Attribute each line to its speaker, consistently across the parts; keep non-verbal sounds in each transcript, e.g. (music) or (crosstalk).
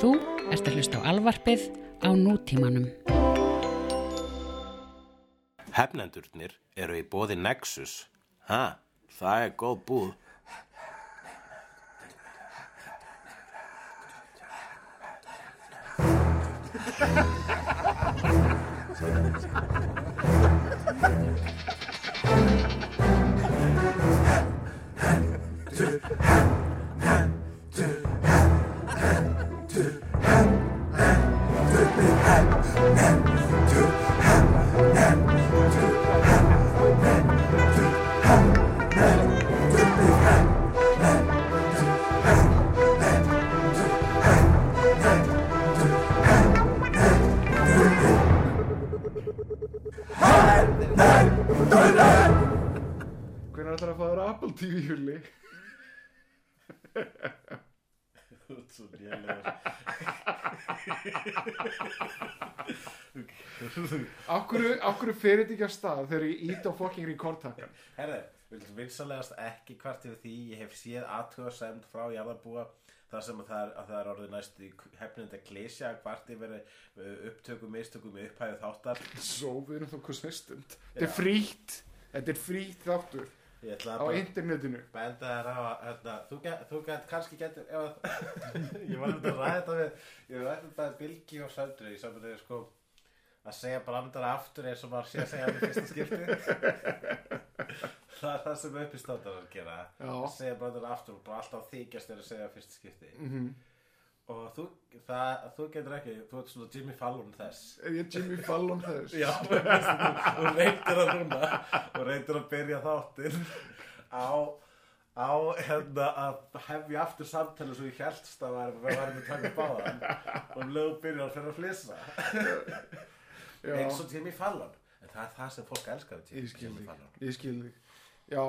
Speaker 1: Þú ert að hlusta á alvarpið á nútímanum.
Speaker 2: Hefnendurnir eru í bóði Nexus. Ha, það er góð búð.
Speaker 3: Hvernig ætlar að fá þér Apple TV hjulli?
Speaker 4: Svo lélegar
Speaker 3: Akkur, akkur fyrir þetta ekki af stað þegar ég ít á fucking rekordtakkan?
Speaker 4: Herði, viltu vinsalegast ekki hvart yfir því ég hef séð aðtöðasemd frá jarðarbúa þar sem að það er, að það er orðið næst í hefnind að klesja hvart yfir uh, upptökum, mistökum, upphæðu þáttar
Speaker 3: Svo við erum þó hvað snistund. Þetta er frítt. Þetta er frítt þáttur
Speaker 4: Ég ætla
Speaker 3: á
Speaker 4: að bara
Speaker 3: internetinu.
Speaker 4: benda þér á að hérna, þú, get, þú get, kannski getur ef, að- ég var þetta að ræða þetta við ég var þetta að Bilgi og Söndri í saman þegar sko að segja brandara aftur eins og maður sé að segja hann í fyrsta skipti það er það sem uppistandarar gera
Speaker 3: Já.
Speaker 4: að segja brandara aftur og bara alltaf þykjast þeir að segja í fyrsta skipti
Speaker 3: Mhm.
Speaker 4: og þú, það, þú getur ekki þú ert svona Jimmy Fallon þess
Speaker 3: Er ég Jimmy Fallon þess?
Speaker 4: Já, (laughs) og reyndir að núna og reyndir að byrja þáttir á, á hérna að hefja aftur samtali svo ég helst að varum við varum að taka báðan og lögum byrjar að fyrir að flissa
Speaker 3: Já,
Speaker 4: eins og Jimmy Fallon en það er það sem fólk elskar við
Speaker 3: ég
Speaker 4: Jimmy-
Speaker 3: skil
Speaker 4: Jimmy
Speaker 3: þig.
Speaker 4: Fallon
Speaker 3: Ég skil þig. Já,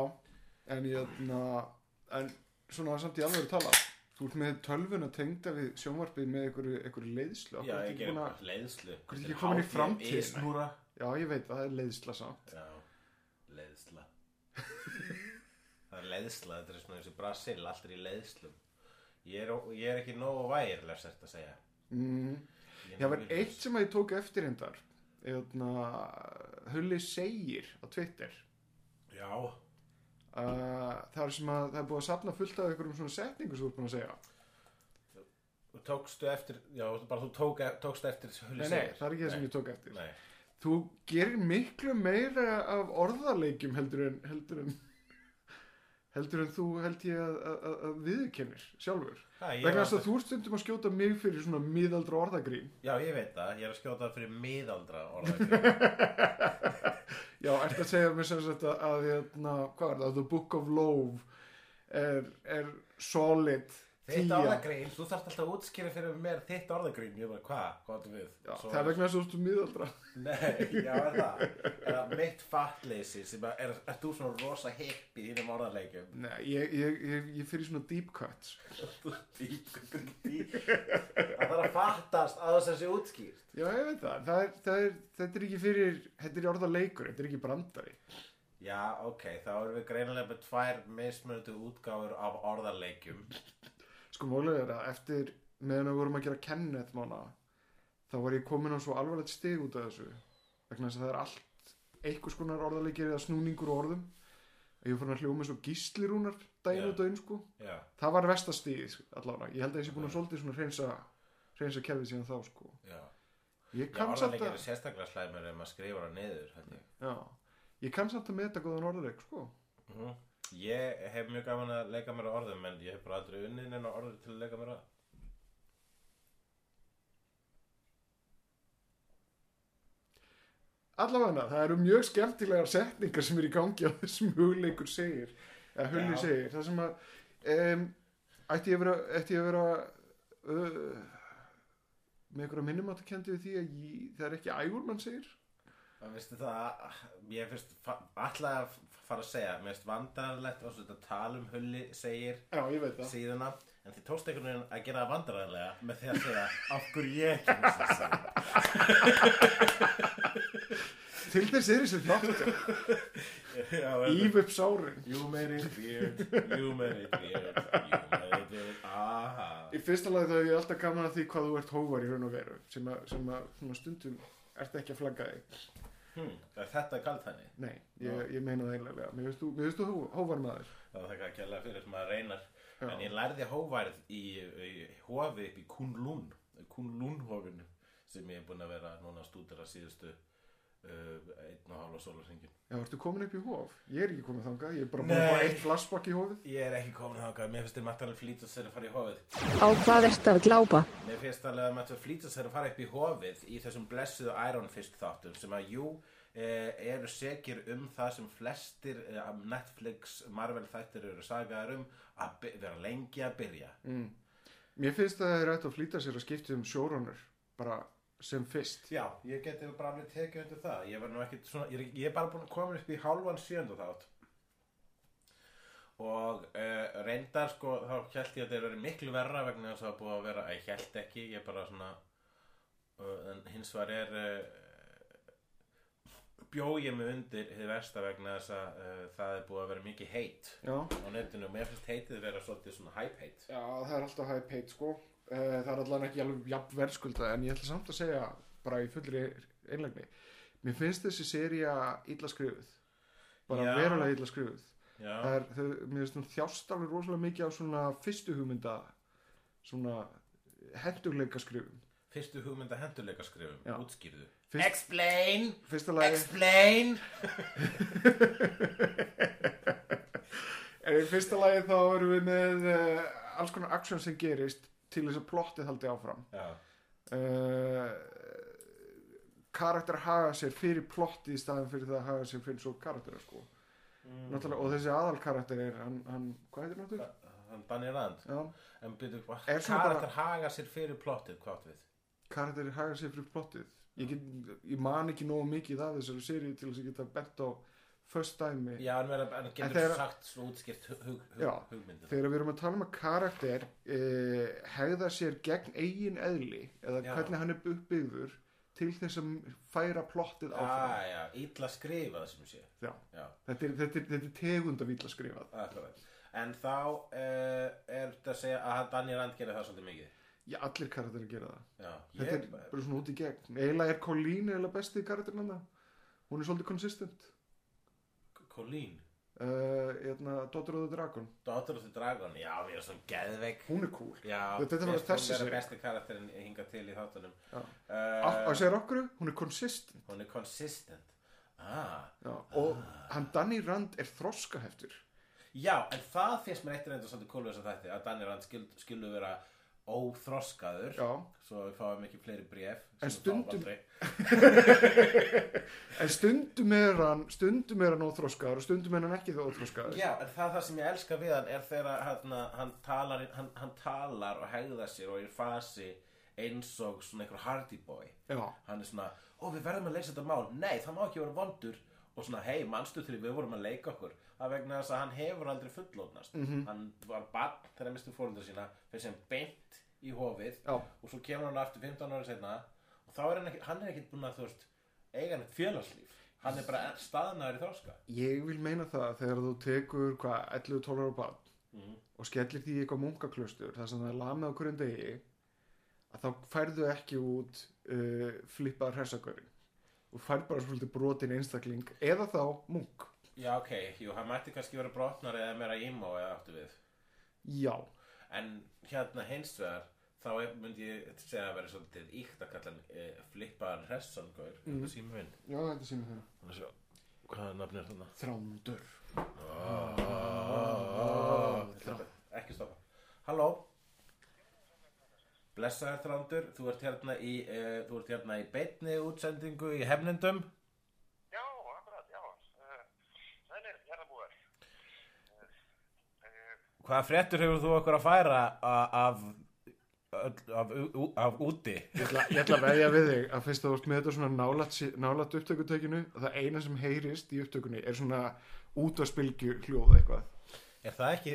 Speaker 3: en ég ætla, en svona samt í alveg að tala. Þú ert með tölvuna tengda við sjónvarpið með einhverju, einhverju leiðslu. Akkur
Speaker 4: Já, ég
Speaker 3: ertu ekki
Speaker 4: gerir
Speaker 3: búin
Speaker 4: bara leiðslu
Speaker 3: Hvernig er ekki komin í framtíðina?
Speaker 4: Ísnúra
Speaker 3: Já, ég veit það, það er leiðsla samt.
Speaker 4: Já, (laughs) leiðsla Það er leiðsla, þetta er svona eins og Brasil, allt er í leiðslum Ég er, ég er ekki nógu vægirlega sært að segja
Speaker 3: Mm.
Speaker 4: Ég er
Speaker 3: Það
Speaker 4: nógu
Speaker 3: var
Speaker 4: villjus.
Speaker 3: eitt sem að ég tók eftir hendar Hulli segir á Twitter
Speaker 4: Já,
Speaker 3: uh, það er sem að það er búið að safna fullt af einhverjum svona setningu sem þú er búin að segja
Speaker 4: þú tókstu eftir Já, bara þú tók, tókst eftir
Speaker 3: Nei, nei, það er ekki það sem ég tók eftir
Speaker 4: Nei,
Speaker 3: Þú gerir miklu meira af orðarleikjum heldur en heldur en, (laughs) heldur en þú held ég að, að- að, að viðurkennir sjálfur
Speaker 4: Ha, ég
Speaker 3: vegna
Speaker 4: var
Speaker 3: þess að
Speaker 4: alltaf-
Speaker 3: þú ert stundum að skjóta mig fyrir svona miðaldra orðagrín
Speaker 4: Já, ég veit það, ég er að skjóta það fyrir miðaldra orðagrín
Speaker 3: Já, ert að segja mér sem sagt að, að hérna, hvað er það, The Book of Love er, er solid
Speaker 4: Þitt
Speaker 3: tíja.
Speaker 4: orðagrín, þú þarft alltaf að útskýra fyrir mér þitt orðagrín Ég bara, hvað, hvað áttu við?
Speaker 3: Já,
Speaker 4: Svo-
Speaker 3: það er vegna þess að þú ert um miðaldra.
Speaker 4: Nei, já, er það Eða mitt fatleysi sem að, er, er þú svona rosa hipp í þínum orðarleikum
Speaker 3: Nei, ég, ég, ég, ég fyrir svona deep cuts.
Speaker 4: Þú dýkur dý Það þarf að fattast að þess að sé útskýrt
Speaker 3: Já, ég veit það, það er, það er, þetta er ekki fyrir, þetta er orða leikur, þetta er ekki brandari.
Speaker 4: Já, ok, þá erum við greinilega með tvær mismunandi útgáfur af orðarleikjum
Speaker 3: Sko, málið er að eftir, meðan við vorum að gera Kenneth mána, þá var ég komin á svo alvarlegt stig út af þessu. Vegna þess að það er allt, einhvers konar orðarleikir eða snúningur á orðum. Ég var fann að hljóma svo gíslirúnar daginn
Speaker 4: Já.
Speaker 3: og daginn, sko.
Speaker 4: Já,
Speaker 3: það var vestastíð allavega, ég held að ég sé búin að svolítið svona reynsa reynsa kerfið síðan þá sko
Speaker 4: já
Speaker 3: ég
Speaker 4: Já,
Speaker 3: kann samt
Speaker 4: orðarleikir
Speaker 3: að
Speaker 4: eru sérstaklega slæmur ef maður skrifar það niður held ég.
Speaker 3: já, ég kann samt að meta góðan orðuleik sko
Speaker 4: Mhm. Ég hef mjög gaman að leika mér að orðum en ég hef bara aldrei unnið en orður til að leika mér að
Speaker 3: allavega, það eru mjög skemmtilegar setningar sem er í gangi á þessum hugleikur segir, eða hulli
Speaker 4: Já.
Speaker 3: segir það sem að um, ætti ég að vera, ætti ég að vera uh, með einhverja minnumáttakendi við því að ég, það er ekki ægur mann segir
Speaker 4: Það veistu það, ég finnst alltaf að fara að segja, mér finnst vandarlegt og svona tala um hulli segir
Speaker 3: já, ég veit það
Speaker 4: síðuna en þið tókst einhvern veginn að gera það vandarlega með því að segja af hverju ég ekki finnst það segja.
Speaker 3: til þess er þessi þátt
Speaker 4: (laughs) Já,
Speaker 3: Íf upp sárin
Speaker 4: You made it (laughs) weird, you made it weird, you made it weird, aha.
Speaker 3: Í fyrsta lagi þá hef ég alltaf gaman að því hvað þú ert hóvar í raun og veru sem að, sem að svona stundum ert ekki að flagga þig
Speaker 4: Hmm, er þetta er kalt henni.
Speaker 3: Nei, ég, ég meina það einlega Mér veist þú, mér veist þú hó- hóvar maður
Speaker 4: Það var það ekki að fyrir sem maður reynar.
Speaker 3: Já.
Speaker 4: En ég lærði hóværið í, í hofi upp í Kunlun, Kunlun-hofinu sem ég er búinn að vera núna að stúdera síðustu uh, einn og hálfa sólarsingin.
Speaker 3: Já, ertu komin upp í hóf? Ég er ekki komin þangað, ég er bara
Speaker 4: Nei.
Speaker 3: búin að fá eitt flassbakk í hófið
Speaker 4: Ég er ekki komin þákað, mér finnst þér mættalega flýta sér að fara í hofið.
Speaker 5: Á hvað ert að glápa?
Speaker 4: Mér finnst alveg að mættalega flýta sér að fara upp í hofið í þessum blessuðu Ironfist þáttum sem að jú eh, eru segir um það sem flestir eh, af Netflix Marvel þættir eru sagaðar um að by- vera lengi að byrja.
Speaker 3: mm. Mér finnst að það er rætt að flýta sér að skipta um sjórónur bara sem fyrst
Speaker 4: Já, ég geti bara alveg tekið undir það Ég var nú ekkit svona, ég, er- ég er bara búin að koma upp í hálfan sjöndu þátt Og uh, reyndar sko, þá held ég að þeir verið miklu verra vegna þess að það var búið að vera, ég held ekki, ég bara svona uh, En hins vegar er, uh, bjó ég mig undir hið versta vegna þess að uh, það er búið að vera mikið heit
Speaker 3: Já,
Speaker 4: á netinu Og mér finnst heitið vera svolítið svona hype heit
Speaker 3: Já, það er alltaf hæg peit sko Eh, Það er allan ekki alveg jafn verðskulda en ég ætla samt að segja bara í fullri einlegni Mér finnst þessi seria illa skrifuð bara
Speaker 4: Já.
Speaker 3: verulega illa skrifuð Það
Speaker 4: Já,
Speaker 3: er, þau, mér finnst hún þjást alveg rosalega mikið á svona fyrstu hugmynda svona hendurleika skrifum
Speaker 4: fyrstu hugmynda hendurleika skrifum,
Speaker 3: Já.
Speaker 4: útskýrðu
Speaker 3: Fyrst-
Speaker 4: Explain!
Speaker 3: Fyrsta lagi
Speaker 4: Explain
Speaker 3: En í fyrsta lagi þá erum við með uh, alls konar action sem gerist til þess að plottið haldi áfram.
Speaker 4: Já,
Speaker 3: Uh, karakter haga sér fyrir plottið í staðin fyrir það að haga sér fyrir svo karakter sko. Náttúrulega, og þessi aðalkarakter er hann, hann hvað heitir náttúrulega?
Speaker 4: hann Danny Rand
Speaker 3: Já,
Speaker 4: En byrju, hvað
Speaker 3: Er svona bara-
Speaker 4: karakter haga sér fyrir plottið, hvað átt við?
Speaker 3: karakter haga sér fyrir plottið. Ég, get, ég man ekki nógu mikið af þessari seríu til þess að ég geta bent á first dæmi.
Speaker 4: Já, en, vera, en getur
Speaker 3: þeir-
Speaker 4: sagt svo útskýrt hug, hug, hug,
Speaker 3: Já.
Speaker 4: hugmyndina
Speaker 3: þegar við erum að tala um að karakter uh, hegða sér gegn eigin eðli eða
Speaker 4: Já.
Speaker 3: hvernig hann er uppbyggður til þess að færa plottið áfram
Speaker 4: Ah, Já, já, illa skrifað sem sé
Speaker 3: Já.
Speaker 4: Já,
Speaker 3: þetta er, þetta, er, þetta er tegund af illa skrifað
Speaker 4: akkurat En þá uh, er þetta að segja að hann Danny Rand gerir það svolítið mikið
Speaker 3: já, allir karakterir gera það
Speaker 4: Já,
Speaker 3: þetta
Speaker 4: ég,
Speaker 3: er bara svona út í gegn eiginlega er Colleen eiginlega bestið karakterin hann hún er svolítið konsistent
Speaker 4: Colleen
Speaker 3: uh, hérna, Daughter of the Dragon
Speaker 4: Daughter of the Dragon, já, við erum svona geðveik
Speaker 3: hún er cool
Speaker 4: Já,
Speaker 3: Þetta var
Speaker 4: mér finnst hún
Speaker 3: þessi
Speaker 4: vera
Speaker 3: sería.
Speaker 4: besti karakterin hingað til í þáttunum
Speaker 3: Já.
Speaker 4: uh,
Speaker 3: uh, að segja okkur, hún er consistent
Speaker 4: Hún er consistent Ah,
Speaker 3: já, og hann Danny Rand er þroskaheftur
Speaker 4: Já, en það finnst mér eitt reynda svolítið kólu þess að þætti að Danny Rand skil, skilu vera óþroskaður
Speaker 3: já
Speaker 4: svo við fáum ekki fleiri bréf sem við
Speaker 3: En
Speaker 4: fáum
Speaker 3: stundum-
Speaker 4: aldrei.
Speaker 3: En stundum er hann, stundum er hann óþróskaður og stundum er hann ekki það óþróskaður.
Speaker 4: Já, en það, það sem ég elska við hann er þegar hann, hann, talar, hann, hann talar og hegðar sér og er í fasi eins og svona einhver hardy boy
Speaker 3: Já.
Speaker 4: hann er svona, ó við verðum að leysa þetta mál nei, það má ekki vera vondur og svona, hei, manstu til við vorum að leika okkur það er vegna þess að hann hefur aldrei fullóknast
Speaker 3: Mhm.
Speaker 4: -hmm. hann var barn þegar hann misti fórundar sína fyrir sem beint í hofið
Speaker 3: Já.
Speaker 4: og svo kemur hann aftur 15 ára setna og þá er hann ekki, hann er ekki búin að þú veist eiga hann félagslíf hann er bara staðnaður í þroska
Speaker 3: Ég vil meina það að þegar þú tekur hvað 11-12 ára barn
Speaker 4: Mhm.
Speaker 3: og skellir því í eitthvað munkaklaustur þar sem það er lamið á hverjum degi að þá færðu ekki út uh, flippaðar hersakörinn og færð bara svolítið brotin einstakling eða þá munk.
Speaker 4: já ok, jú, hann mætti kannski vera brotnar eða meira ímó eða áttu við
Speaker 3: Já.
Speaker 4: En hérna hins vegar þá er- myndi ég segja að vera svolítið íkt að kalla hann e, flippaðan hressangur mm. þetta sími minn
Speaker 3: Já, þetta sýnum það.
Speaker 4: Þannig að sjá, hvaða nafn er þarna?
Speaker 3: Þrándur.
Speaker 4: Ekki stoppa Halló Blessaður Þrándur, þú ert hérna í uh, þú ert hérna í beinni útsendingu í hefnendum
Speaker 6: Já, akkurat, já. Eh, Sælir, Eh, jarðabúar.
Speaker 4: Hvaða fréttur hefur þú okkur að færa a- af af, af, u- af úti?
Speaker 3: Ég ætla, ég ætla að veðja við þig að fyrst að þú ert með þetta svona nálat, nálat upptökutekinu að það eina sem heyrist í upptökunni er svona útvarspilgju hljóð eitthvað.
Speaker 4: Er það ekki,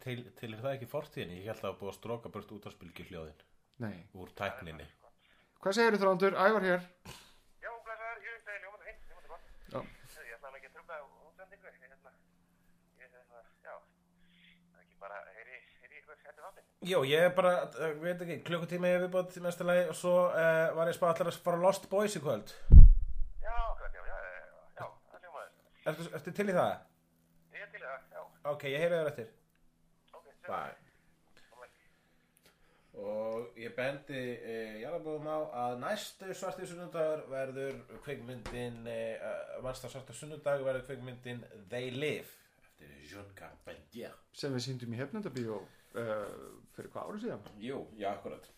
Speaker 4: til, til er það ekki fortíðinni? Ég held að það var búið að stróka burt út af spilgju hljóðin
Speaker 3: Nei.
Speaker 4: úr tækninni
Speaker 3: Hvað segir þú þrándur? Ævar hér.
Speaker 6: Já, blessaður, ég er Sælir, ljómandi fint, ljómandi gott.
Speaker 3: Já.
Speaker 6: Ég ætla hann ekki að trúka útsendingu. Ég ætla, ég ætla, já. Það er ekki bara, heyri, heyri ykkur eftir þáttinn.
Speaker 4: Jó, ég er bara, eh, veit ekki, klukkutíma ég viðbótt í næsta lagi og svo uh, var ég spáð allar að fara á Lost Boys í kvöld.
Speaker 6: Já, akkurat, já, já, já, já, það hljómaður.
Speaker 4: Ertu, ertu til í það?
Speaker 6: Ég er til í það, já.
Speaker 4: Ok, ég heyri þér eftir.
Speaker 6: Ok, sjá.
Speaker 4: Bye. Og ég bendi e, Jarlabóðum á að næstu svartu sunnudagur verður kvikmyndin, e, mannsta svartu sunnudag verður kvikmyndin They Live eftir John Carpentier.
Speaker 3: sem við síndum í hefnendabíó uh, fyrir hvað árið síðan
Speaker 4: Jú, já, akkurat.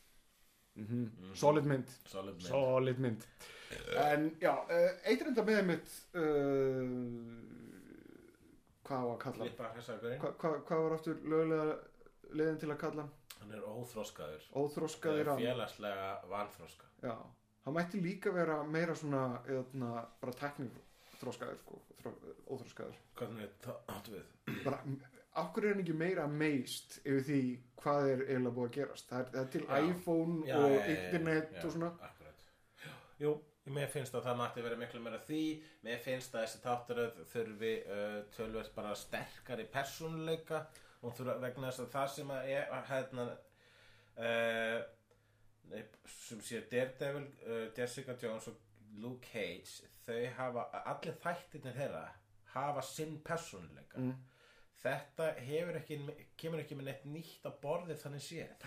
Speaker 3: solid mynd,
Speaker 4: Solid mynd.
Speaker 3: Mhm. solid mynd. en já, uh, eitrenda með mitt uh, hvað var að kalla hann?
Speaker 4: Lippa hræsagurinn,
Speaker 3: Hva, hva, hvað var aftur lögulega leiðin til að kalla hann?
Speaker 4: hann er óþróskaður.
Speaker 3: óþroskaði
Speaker 4: Eða
Speaker 3: rann
Speaker 4: Félagslega vanþróska.
Speaker 3: já, hann mætti líka vera meira svona eðna, bara teknifroskaður sko, þro- óþroskaður
Speaker 4: Hvernig það áttu við?
Speaker 3: bara, okkur er hann ekki meira meist yfir því hvað er eiginlega búið að gerast það er, það er til
Speaker 4: Já.
Speaker 3: iPhone
Speaker 4: Já,
Speaker 3: og
Speaker 4: já, já, já,
Speaker 3: internet
Speaker 4: já,
Speaker 3: og svona
Speaker 4: akkurat. Jú, mér finnst að það mætti vera miklu meira því Mér finnst að þessi þáttaröð þurfi uh, tölvert bara sterkari persónuleika og þurfa vegna þess að það sem að er hérna uh, nei, sem sé Daredevil, uh, Jessica Jones og Luke Cage þau hafa, allir þættirnir þeirra hafa sinn persónuleika
Speaker 3: Mm.
Speaker 4: Þetta hefur ekki, kemur ekki með neitt nýtt á borðið þannig séð.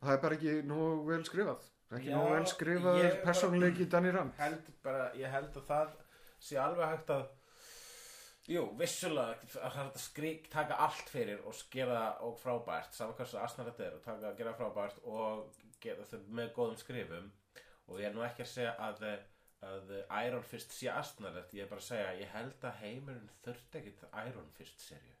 Speaker 3: það er bara ekki nógu vel skrifað Það er ekki
Speaker 4: Já,
Speaker 3: nógu vel skrifaður
Speaker 4: ég bara-
Speaker 3: persónuleiki Danny Rand
Speaker 4: held bara, ég held að það sé alveg hægt að Jú, vissulega að það er hægt að skrik, taka allt fyrir og skera það og frábært, saman hversu asnar þetta er og taka, gera það frábært og gera það með góðum skrifum og ég er nú ekki að segja að, að Iron Fist sé asnarlegt, ég er bara að segja að ég held að heimurinn þurfti ekkit Iron Fist serju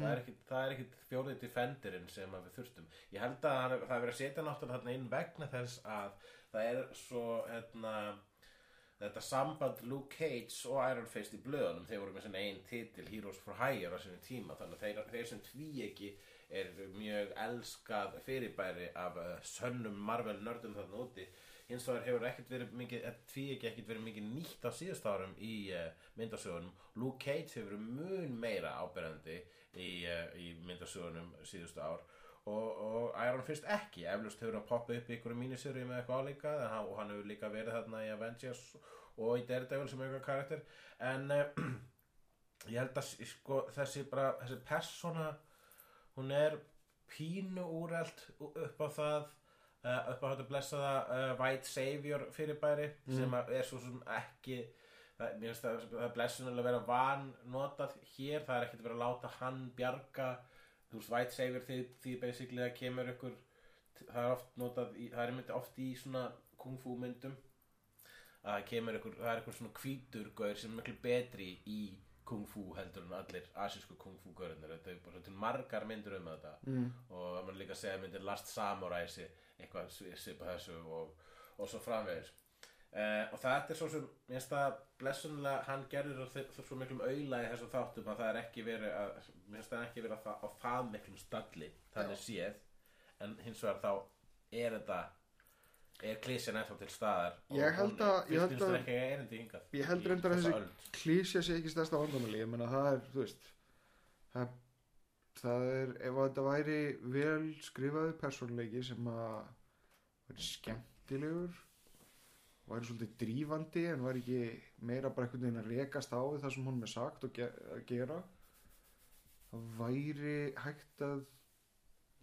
Speaker 4: Það er ekkit, það er ekkit fjórið defenderinn sem að við þurftum. Ég held að hann- það er verið að setja náttúrulega þarna inn vegna þess að það er svo hérna, þetta samband Luke Cage og Iron Fist í blöðunum, þeir voru með sinna einn titil Heroes for Hire á sinni tíma, þannig að þeir, þeir sem tví ekki er mjög elskað fyrirbæri af uh, sönnum Marvel nördum þarna úti hins vegar hefur ekkert verið mikið tví ekki ekkert verið mikið nýtt á síðust árum í uh, myndasögunum Luke Cage hefur verið mun meira áberandi í, uh, í myndasögunum síðustu ár og, og Iron Fist ekki eflust hefur að poppa upp í ykkur mínisöru með eitthvað álíka en hann, og hann hefur líka verið þarna í Avengers og í Daredevil sem eitthvað karakter en uh, (clears throat) ég held að sko, þessi bara þessi persóna hún er pínu úrælt upp á það uh, upp á þetta blessaða uh, White Savior fyrirbæri sem að er svo sem ekki það, mér finnst það, það er blessunulega að vera vannotað hér, það er ekkert verið að láta hann bjarga, þú veist White Savior því, því basically að kemur ykkur það er oft notað, í, það er myndi oft í svona kung fu myndum að það kemur ykkur, það er ykkur svona hvítur gaur sem er miklu betri í kung fu heldur en allir asísku kung fu gaurinnir, þetta er bara til margar myndir um þetta mm. og það mann líka að segja myndir Last Samurai sé- eitthvað svipa þessu og, og svo framvegis Uh, og þetta er svo sem, ég veist að blessunlega hann gerður svo, þi- svo miklum auðla í þessum þáttum að það er ekki verið að, mér finnst það ekki verið að það, á það miklum stalli, þannig séð en hins vegar þá er þetta er klísjan ennþá til staðar og
Speaker 3: Ég held að-
Speaker 4: hún,
Speaker 3: ég held
Speaker 4: finnst það
Speaker 3: að-
Speaker 4: ekki erindi hingað
Speaker 3: ég held
Speaker 4: í
Speaker 3: reyndar að
Speaker 4: þessa öld.
Speaker 3: þessi klísja sé ekki stærsta vandamáli ég menna það er, þú veist það, það er, ef þetta væri vel skrifaður persónuleiki sem að væri skemmtilegur væri svolítið drífandi en væri ekki meira bara einhvern veginn að rekast á við það sem honum er sagt og ge að gera það væri hægt að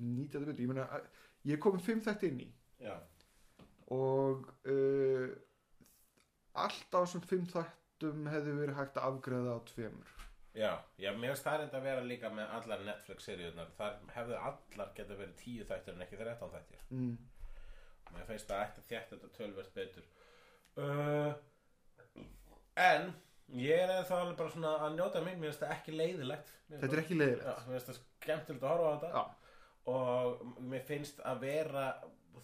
Speaker 3: nýta þetta betur ég meina, að- ég kom fimm þetta inn í
Speaker 4: já,
Speaker 3: og uh, allt á þessum fimm þættum hefði verið hægt að afgreða á tveimur
Speaker 4: já, já, mér finnst það reynda að vera líka með allar Netflix-seríunar þar hefðu allar geta verið tíu þættir en ekki 13 þættir
Speaker 3: mm.
Speaker 4: Mér finnst það ætti að þjætta þetta tölvert betur uh, En Ég er eða þá alveg bara svona að njóta mín Mér finnst það ekki leiðilegt Mér
Speaker 3: þetta er ekki
Speaker 4: Já,
Speaker 3: leiðilegt
Speaker 4: Mér finnst það skemmtilegt að horfa á þetta
Speaker 3: já,
Speaker 4: Og mér finnst að vera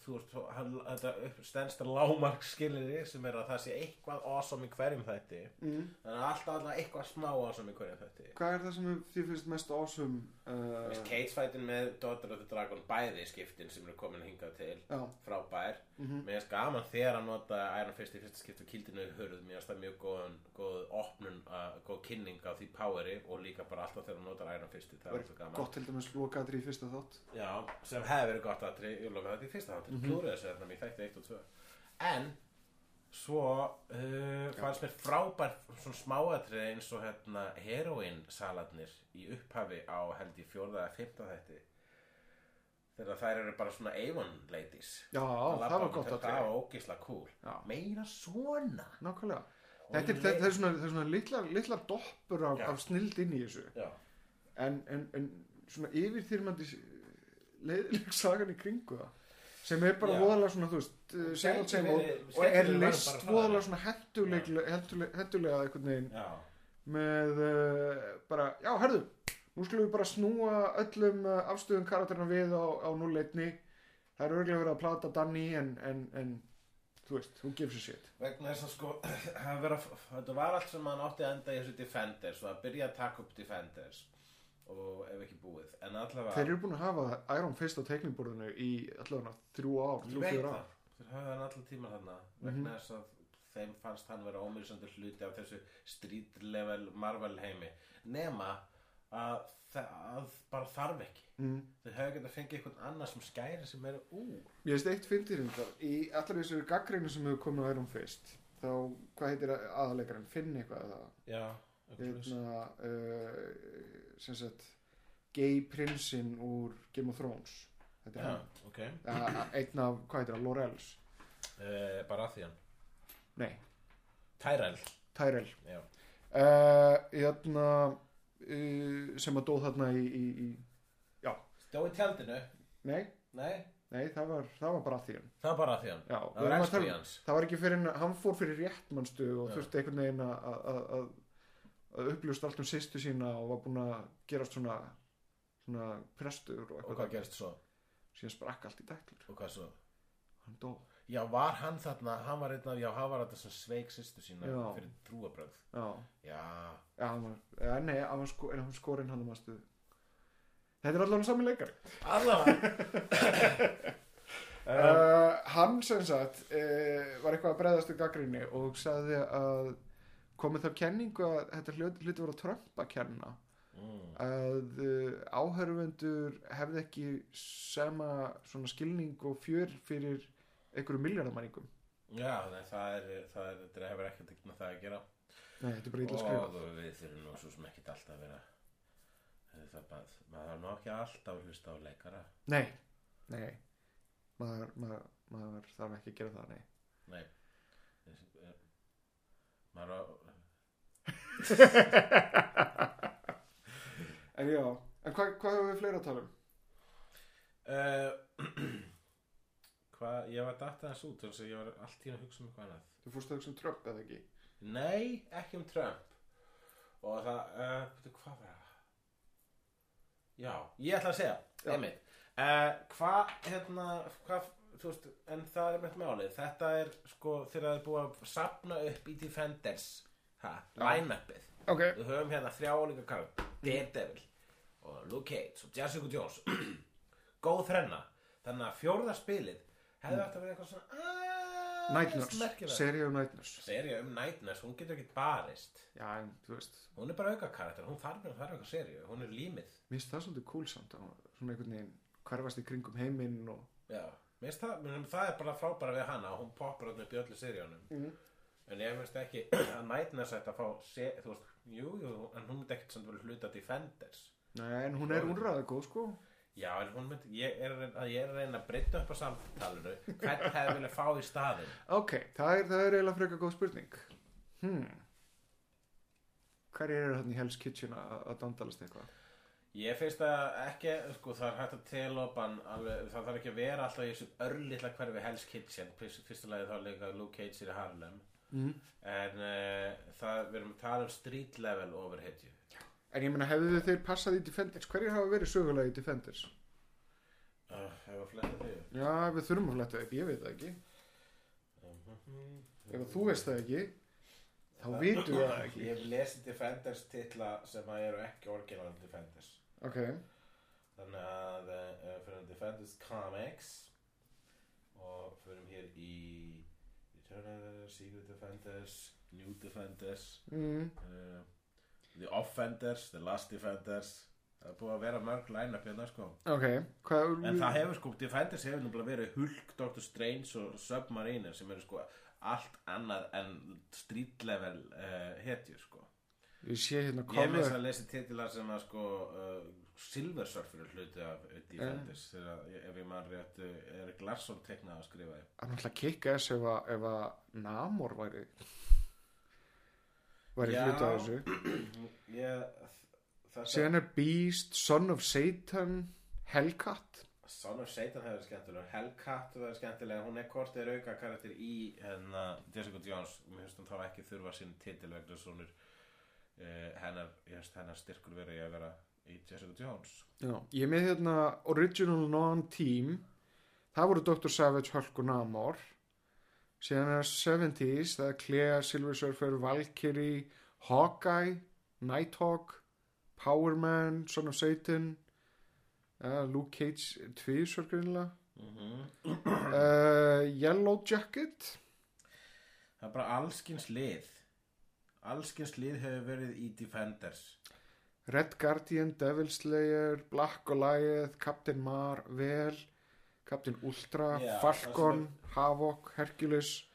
Speaker 4: Þú veist, þú- hann, þetta upp- stenst að lámark sem er að það sé eitthvað awesome í hverjum þætti
Speaker 3: Mm.
Speaker 4: Þannig að alltaf alltaf eitthvað smá awesome í hverjum þætti
Speaker 3: hvað er það sem þið finnst mest ásum
Speaker 4: Mér finnst
Speaker 3: uh,
Speaker 4: Cage fightin með Daughter of the Dragon bæði skiptin sem eru komin hingað til
Speaker 3: já,
Speaker 4: frábær mér finnst gaman þegar að nota Iron Fist í fyrsta skipti og kildinu í hurð mér finnst það mjög góð, góð opnun að, góð kynning á því poweri og líka bara alltaf þegar hann notar Iron Fist það
Speaker 3: Það
Speaker 4: er
Speaker 3: er
Speaker 4: alltaf gaman
Speaker 3: gott til dæmis lokatri í fyrsta þátt
Speaker 4: Já, sem hefði verið gott að ég loka þetta í fyrsta þáttir mm
Speaker 3: Mhm.
Speaker 4: -hmm. klúrið þessu þarna mér þætti 1 og 2 en svo uh, fannst mér frábær svona smáatrið eins og hérna heroin saladnir í upphafi á held í fjórða eða fimmta þætti þegar þær eru bara svona Avon ladies
Speaker 3: Já,
Speaker 4: labba
Speaker 3: það var
Speaker 4: út,
Speaker 3: gott
Speaker 4: þetta
Speaker 3: atriði.
Speaker 4: var ógisla cool
Speaker 3: Já.
Speaker 4: meina svona
Speaker 3: Nákvæmlega
Speaker 4: Og
Speaker 3: Þetta er,
Speaker 4: leið-
Speaker 3: þetta er svona, þetta er svona litlar, litlar doppur af,
Speaker 4: Já.
Speaker 3: af snild inn í þessu
Speaker 4: Já.
Speaker 3: en, en, en svona yfirþýrmandi leiðileg sagan í kringu það sem er bara
Speaker 4: Já.
Speaker 3: voðalega svona, þú veist eh, sem og
Speaker 4: Gæti
Speaker 3: sem og,
Speaker 4: verið-
Speaker 3: og er
Speaker 4: skemmtileg var
Speaker 3: list
Speaker 4: bara það.
Speaker 3: voðalega svona hentulega, hentulega, hentulega einhvern veginn
Speaker 4: Já.
Speaker 3: með uh, bara, já, herðu nú skulum við bara snúa öllum uh, afstöðum karakterna við á, á 0-1 það er örglega verið að plata Danny en, en, en þú veist, hún gefur sér shit
Speaker 4: vegna þess að sko (clears throat) að vera, þetta var allt sem hann átti að enda í þessu Defenders og að byrja að taka upp Defenders og ef ekki búið en allavega
Speaker 3: Þeir eru búin að hafa Iron Fist á teikningborðinu í allavega þrjú ár,
Speaker 4: Ég
Speaker 3: þrjú
Speaker 4: veit
Speaker 3: fjör
Speaker 4: það.
Speaker 3: ár.
Speaker 4: þeir höfðu hann allan tíma þarna
Speaker 3: Mhm.
Speaker 4: vegna þess að þeim fannst hann vera ómýrsandi hluti af þessu street level Marvel heimi nema að það bara þarf ekki
Speaker 3: Mm.
Speaker 4: þeir höfðu getað að fengið eitthvað annað sem skæri sem er úr
Speaker 3: Ég veist eitt fyndir um það, í allar þessari gaggrinni sem hefur komið á Iron Fist, þá, hvað heitir aðalegarinn, Finn eitthvað eða,
Speaker 4: já,
Speaker 3: hérna, uh, sem sagt, gay prinsinn úr Game of Thrones, þetta er
Speaker 4: já,
Speaker 3: hann,
Speaker 4: ok
Speaker 3: ja, einn af, hvað heitir það, Lorels,
Speaker 4: uh, bara að því hann
Speaker 3: nei,
Speaker 4: Tyrell
Speaker 3: Tyrell,
Speaker 4: já.
Speaker 3: uh, hérna, uh, sem að dóð þarna í, í, í,
Speaker 4: stóð í tjaldinu
Speaker 3: nei,
Speaker 4: nei,
Speaker 3: nei, það var, það var bara því hann.
Speaker 4: það var bara að um- því hann
Speaker 3: Já,
Speaker 4: Það
Speaker 3: við
Speaker 4: var
Speaker 3: erum að
Speaker 4: extra
Speaker 3: tala- um-
Speaker 4: í hans.
Speaker 3: það var ekki fyrir en hann fór fyrir rétt mannstu og
Speaker 4: Já.
Speaker 3: þurfti einhvern veginn að- að að- að uppljósta allt um sýstu sína og var búinn að gerast svona svona prestur og
Speaker 4: og
Speaker 3: eitthvað
Speaker 4: hvað gerst svo,
Speaker 3: síðan sprakk allt í dæklur
Speaker 4: og hvað svo
Speaker 3: hann dó
Speaker 4: já, var hann þarna, hann var einn af já, hann var þetta sem sveik sýstu sína
Speaker 3: Já.
Speaker 4: fyrir trúabröð
Speaker 3: já,
Speaker 4: já,
Speaker 3: já hann var, ja, nei, hann var sko, en hann var skorinn hann mannstu þetta er allavega saman leikar
Speaker 4: allavega
Speaker 3: uh, hann sem sagt uh, var eitthvað að breyðast um gaggrinni og sagði að komið þá kenningu að þetta hluti, hluti voru að trömpa kenna
Speaker 4: mm.
Speaker 3: að uh, áhörfundur hefði ekki sama svona skilning og fjör fyrir einhverju miljardamæningum
Speaker 4: já, nei, það er það er, þetta hefur ekkert ekkert með það að gera
Speaker 3: Nei, þetta er bara illa
Speaker 4: og
Speaker 3: skrifað
Speaker 4: við þurfum nú svo sem ekkert alltaf að vera það er bara, maður þarf nú ekki alltaf að hlusta á leikara
Speaker 3: Nei, nei maður, maður, maður þarf ekki að gera það, nei
Speaker 4: nei maður á
Speaker 3: En já, en hvað, hvað hefur við fleira að tala um?
Speaker 4: uh, (clears throat) hvað, ég var datt aðeins út þannig að ég var allt í einu að hugsa um eitthvað annað
Speaker 3: Þú fórst að hugsa um Trump eða ekki?
Speaker 4: Nei, ekki um Trump Og það, uh, veitu, hvað var það? Já, ég ætla að segja,
Speaker 3: Já.
Speaker 4: einmitt uh, Hvað, hérna, hvað, þú veist, en það er mitt málið Þetta er, sko, þegar það er búið að sapna upp í Defenders ha, Line-upið
Speaker 3: Ok,
Speaker 4: Við höfum hérna þrjá álíka kafum Daredevil og Luke Cage og Jessica Jones (clears throat) Góð þrenna Þannig að fjórða spilið hefði átt að vera eitthvað svona aðeins
Speaker 3: Night Nurse,
Speaker 4: merkilegra.
Speaker 3: serið um Night Nurse
Speaker 4: Serja um Night Nurse, hún getur ekkert barist
Speaker 3: Já, en þú veist,
Speaker 4: Hún er bara auka karakter, hún þarf mér að þarf eitthvað serju Hún er límið
Speaker 3: mér finnst það svolítið cool samt að hún- svona einhvern veginn hverfast í kringum heiminn og
Speaker 4: Já, mér finnst það, mér finnst það er bara frábæra við hana Hún poppar hann upp í öllu serjónum
Speaker 3: Mhm.
Speaker 4: En ég finnst ekki (clears throat) að Night Nurse ætti að fá se, Þú veist, jú, jú, en hún myndi ekkert samt vel hluta Defenders
Speaker 3: Nei, en hún er úrræða góð, sko
Speaker 4: Já, en hún myndi, ég er, að reyna- að ég er að reyna að breyta upp á samtalinu Hvern hefði vilja fá í staðinn
Speaker 3: Ok, það er, það er eiginlega frekar góð spurning. Hmm. Hverjir eru hann í Hell's Kitchen að að dandalast eitthvað?
Speaker 4: Ég finnst að ekki, sko, það er hægt að telopan alveg, það þarf ekki að vera alltaf í þessu örlítla hverfi Hell's Kitchen, fyrst- fyrsta lagi þá er líka Luke Cage er í Harlem,
Speaker 3: Mm.
Speaker 4: en uh, það, við erum að tala um street level overhitju.
Speaker 3: En ég meina, hefðu þeir passað í Defenders? Hverjir hafa verið sögulega í Defenders?
Speaker 4: Uh, hefur fletta því.
Speaker 3: Já, við þurfum að fletta upp, ég veit það ekki. Ef að þú veist það ekki, þá vitum við það
Speaker 4: Ég
Speaker 3: ekki.
Speaker 4: hef lesið Defenders titla sem að eru ekki orginal Defenders.
Speaker 3: Ok,
Speaker 4: eh, Þannig að uh, fyrir um Defenders Comics og fyrir um hér í Secret Defenders, New Defenders,
Speaker 3: mm.
Speaker 4: uh, The Offenders, The Last Defenders. Það er búið að vera mörg line-up hérna sko.
Speaker 3: ok hvað,
Speaker 4: En það hefur sko, Defenders hefur náttúrulega verið Hulk, Doctor Strange og Submariner sem eru sko allt annað en street level uh, hetjur sko.
Speaker 3: ég sé hérna
Speaker 4: Ég hef
Speaker 3: cover
Speaker 4: með þess að lesi titlar sem að sko uh, Silver Surfer er hluti af uh, Defenders þegar að- ef ég mann rétt uh, Erik Larsson teiknað að skrifa því.
Speaker 3: hann ætla að kikka þess ef að, ef að Namor væri væri
Speaker 4: Já.
Speaker 3: hluta af þessu
Speaker 4: Ég, þetta,
Speaker 3: síðan er Beast, Son of Satan Hellcat
Speaker 4: Son of Satan hefur verið skemmtilegur, Hellcat hefur verið skemmtileg, hún er hvort er auka karakter í hérna Jessica Jones, mér finnst hún þá ekki þurfa sín titil vegna svonur uh, hennar, ég finnst hennar styrkur verið í að vera í Jessica Jones.
Speaker 3: Já. ég er með hérna Original Non-Team það voru Dr. Savage, Hulk og Namor síðan er 70s það er Clea, Silver Surfer, Valkyrie Hawkeye Nighthawk, Power Man Son of Satan uh, Luke Cage 2 sörgrinlega
Speaker 4: Mm -hmm.
Speaker 3: uh, Yellow Jacket
Speaker 4: Það er bara allskins lið, allskins lið hefur verið í Defenders.
Speaker 3: Red Guardian, Devil Slayer, Black Goliath, Captain Mar, Vel, Captain Ultra,
Speaker 4: Já,
Speaker 3: Falcon, Havok, Hercules.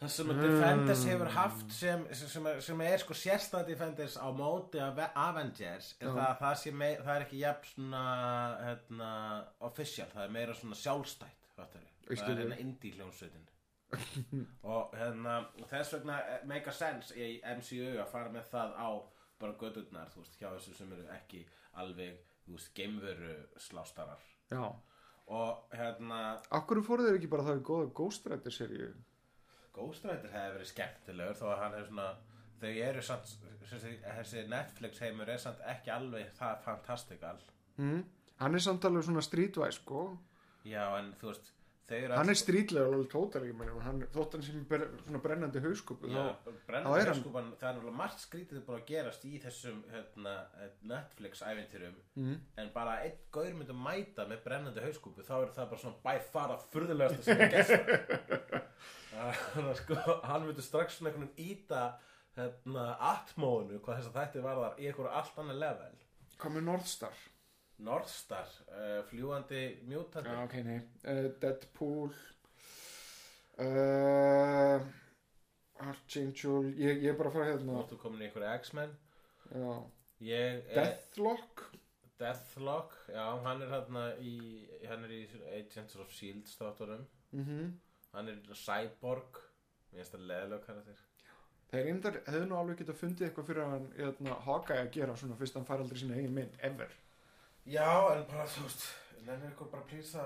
Speaker 4: Það sem að Defenders
Speaker 3: Hmm.
Speaker 4: hefur haft sem, sem, sem, er- sem er sko sérstæð Defenders á móti af Avengers er
Speaker 3: Já.
Speaker 4: það, að það, sé mei, það er ekki jafn svona hérna, official, það er meira svona sjálfstætt fattar
Speaker 3: Ég
Speaker 4: það
Speaker 3: skil
Speaker 4: er
Speaker 3: þig.
Speaker 4: hérna indie hljómsveitin og hérna, þess vegna eh, make a sense í MCU að fara með það á bara gödurnar, þú veist, hjá þessu sem eru ekki alveg, þú veist, geimveru slástarar
Speaker 3: Já.
Speaker 4: og hérna,
Speaker 3: Akkur fóru þeir ekki bara það í góða Ghost Rider seríu?
Speaker 4: Ghost Rider hefði verið skemmtilegur þó að hann hefur svona þau eru samt, þessi, þessi Netflix heimur er samt ekki alveg það fantastikal
Speaker 3: Mm? Hann er samtalið svona streetwise, sko.
Speaker 4: já en þú veist þau eru
Speaker 3: Hann er streetlega alveg tótal, ég meina, hann, þótt hann sem ber, svona brennandi hauskupu,
Speaker 4: já,
Speaker 3: þá, þá er
Speaker 4: brennandi
Speaker 3: hann-
Speaker 4: skupan það er náttúrulega margt skrítið bara að gerast í þessum hérna, Netflix ævintýrum
Speaker 3: mm.
Speaker 4: en bara einn gaur myndi mæta með brennandi hauskúpu þá er það bara svona by far að furðulegasta sem ég gæst
Speaker 3: (laughs)
Speaker 4: þannig að sko hann myndi strax svona einhvern veginn íta hérna, atmóinu hvað þess að þætti varðar í einhverju allt annað level
Speaker 3: hvað með North Star?
Speaker 4: Northstar, uh, fljúandi mjútandi
Speaker 3: Já, ok, nei. Uh, Deadpool. Uh, Archangel. Ég, ég er bara að fara
Speaker 4: Þú
Speaker 3: hérna.
Speaker 4: ertu komin í einhverju X-Men
Speaker 3: Já.
Speaker 4: Ég er
Speaker 3: Deathlock.
Speaker 4: Deathlock Já, hann er hérna í hann er í Agents of S.H.I.E.L.D. státunum
Speaker 3: Mm
Speaker 4: Hann er Cyborg Mér finnst það leðilega karakter
Speaker 3: Þeir reyndar hefðu nú alveg getað fundið eitthvað fyrir hann hérna, Hawkeye að gera svona fyrst hann fær aldrei sína eigin mynd, ever.
Speaker 4: Já, en bara þú veist Nennir ykkur bara plýsa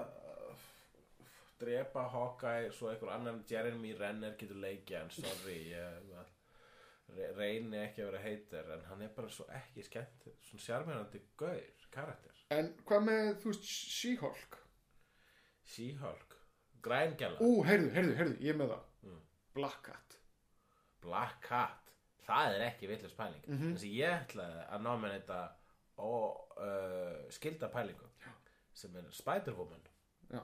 Speaker 4: drepa Hawkeye svo einhver annan Jeremy Renner getur leikja en sorry ég re- reyni ekki að vera heitir en hann er bara svo ekki skemmt svona sjarmjörnandi gaur karakter
Speaker 3: En hvað með, þú veist, She-Hulk?
Speaker 4: She-Hulk Grængjallar,
Speaker 3: Ú, heyrðu, heyrðu, heyrðu, ég er með það.
Speaker 4: Mm.
Speaker 3: Black Cat.
Speaker 4: Black Cat Það er ekki villus pæling mm
Speaker 3: Mhm.
Speaker 4: Þessi ég ætlaði að nominita og uh, skilda pælingu sem er Spider-Woman
Speaker 3: Já.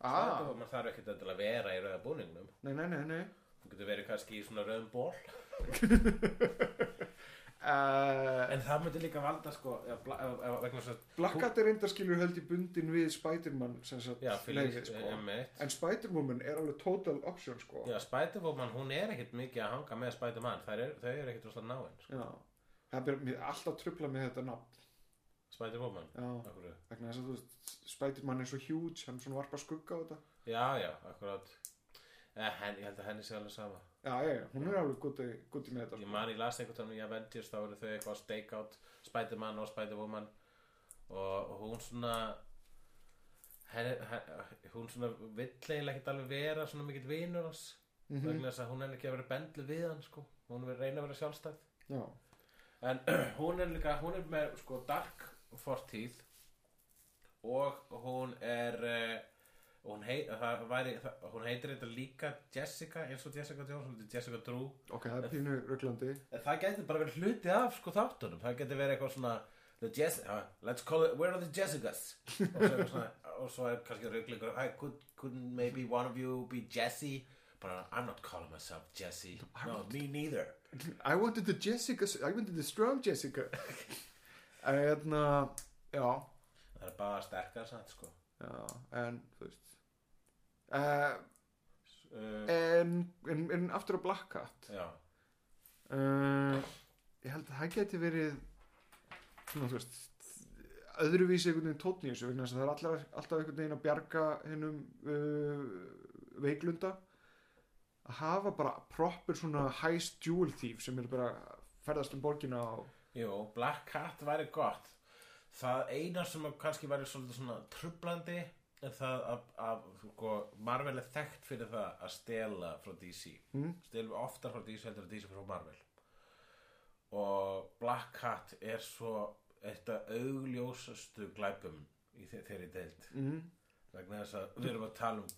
Speaker 3: Ah,
Speaker 4: Spider-Woman þarf ekkert endilega að vera í rauða búningnum
Speaker 3: nei, nei, nei, nei.
Speaker 4: Hún getur verið kannski í svona rauðum ból
Speaker 3: Uh,
Speaker 4: En það myndi líka valda sko ef, bla- ef, ef, vegna svo
Speaker 3: Eh, Black Cat er reyndar skilur held í bundin við Spider-Man, sem sagt,
Speaker 4: Já,
Speaker 3: leiðið,
Speaker 4: fylgist
Speaker 3: sko.
Speaker 4: emitt
Speaker 3: En Spider-Woman er alveg total option, sko.
Speaker 4: Já, Spider-Woman, hún er ekkert mikið að hanga með Spider-Man Þær er, Þau eru ekkert rosalega náin sko.
Speaker 3: Já. Það er mér alltaf trubla með þetta nafn.
Speaker 4: Spider-Woman
Speaker 3: Já.
Speaker 4: Akkurat.
Speaker 3: Vegna þess að, þú veist, Spider-Man er svo huge, hann svona varpa skugga á þetta.
Speaker 4: Já, já, akkurat eh, henn, Ég held að henni sé alveg sama
Speaker 3: Já, já, já, hún er alveg gutti, gutti með þetta.
Speaker 4: Ég man ég las einhvern tónum í Avengers þá eru þau eitthvað að stake out Spider-Man og Spider-Woman og og hún svona henni, henni, hún svona vill eiginlega ekkert alveg vera svona mikill vinur hans
Speaker 3: Mhm.
Speaker 4: vegna þess að hún er ekki að vera bendlu við hann sko. hún er reyna að vera sjálfstæð
Speaker 3: Já,
Speaker 4: en (clears throat) hún er líka hún er með sko dark fortíð og hún er uh, hún, hei, það væri, það, hún heitir þetta líka Jessica eins og Jessica Jones hún heitir Jessica Drew
Speaker 3: ok, það er pínu rugglandi.
Speaker 4: En það getur bara verið hluti af sko þáttunum Það getur verið eitthvað svona the Jess uh, Let's call it, where are the Jessicas? og, svo eitthvað svona, og svo er kannski rauglingur I could, could maybe one of you be Jessie bara I'm not calling myself Jesse no, me neither
Speaker 3: I wanted the Jessica I wanted the strong Jessica (laughs) en hérna já,
Speaker 4: það er bara sterkar samt sko
Speaker 3: já en þú veist uh,
Speaker 4: uh,
Speaker 3: en, en, en aftur á Black Cat
Speaker 4: já,
Speaker 3: uh, ég held að það geti verið svona þú veist öðruvísi einhvern veginn tónn í þessu vegna þess að það er allar, alltaf einhvern veginn að bjarga hennum uh, veiklunda að hafa bara proper svona heist jewel thief sem er bara ferðast um borgina og
Speaker 4: jú, Black Cat væri gott það eina sem að kannski væri svolítið svona trublandi er það að, að sko, Marvel er þekkt fyrir það að stela frá DC
Speaker 3: Mm.
Speaker 4: stelum oftar frá DC heldur að DC frá Marvel og Black Cat er svo eitt af augljósastu glæpum í þe- þeirri deild
Speaker 3: mm,
Speaker 4: vegna þess að við erum að tala um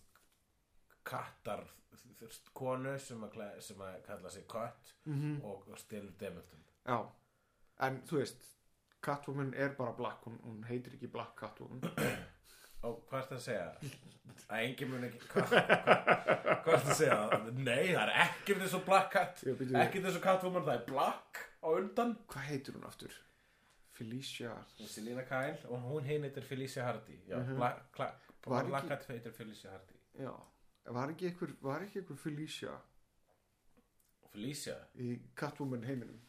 Speaker 4: kattar þ- þ- konu sem að, kla- sem að kalla sig kött
Speaker 3: Mhm.
Speaker 4: og, og stelur demantum
Speaker 3: já en þú veist Catwoman er bara black, hún, hún heitir ekki black Catwoman
Speaker 4: og hvað er það að segja að engin mun ekki hvað, hvað, hvað er það að segja nei það er ekkert eins og black cat
Speaker 3: Já, býttu við.
Speaker 4: ekkert eins og catwoman það er black á undan
Speaker 3: hvað heitir hún aftur? Felicia
Speaker 4: Selina Kyle og hún hinn heitir Felicia Hardy já, black, black,
Speaker 3: Mhm. Var
Speaker 4: black
Speaker 3: ekki-
Speaker 4: cat heitir Felicia Hardy
Speaker 3: já, var ekki einhver, var ekki einhver Felicia
Speaker 4: Felicia,
Speaker 3: í Catwoman heiminum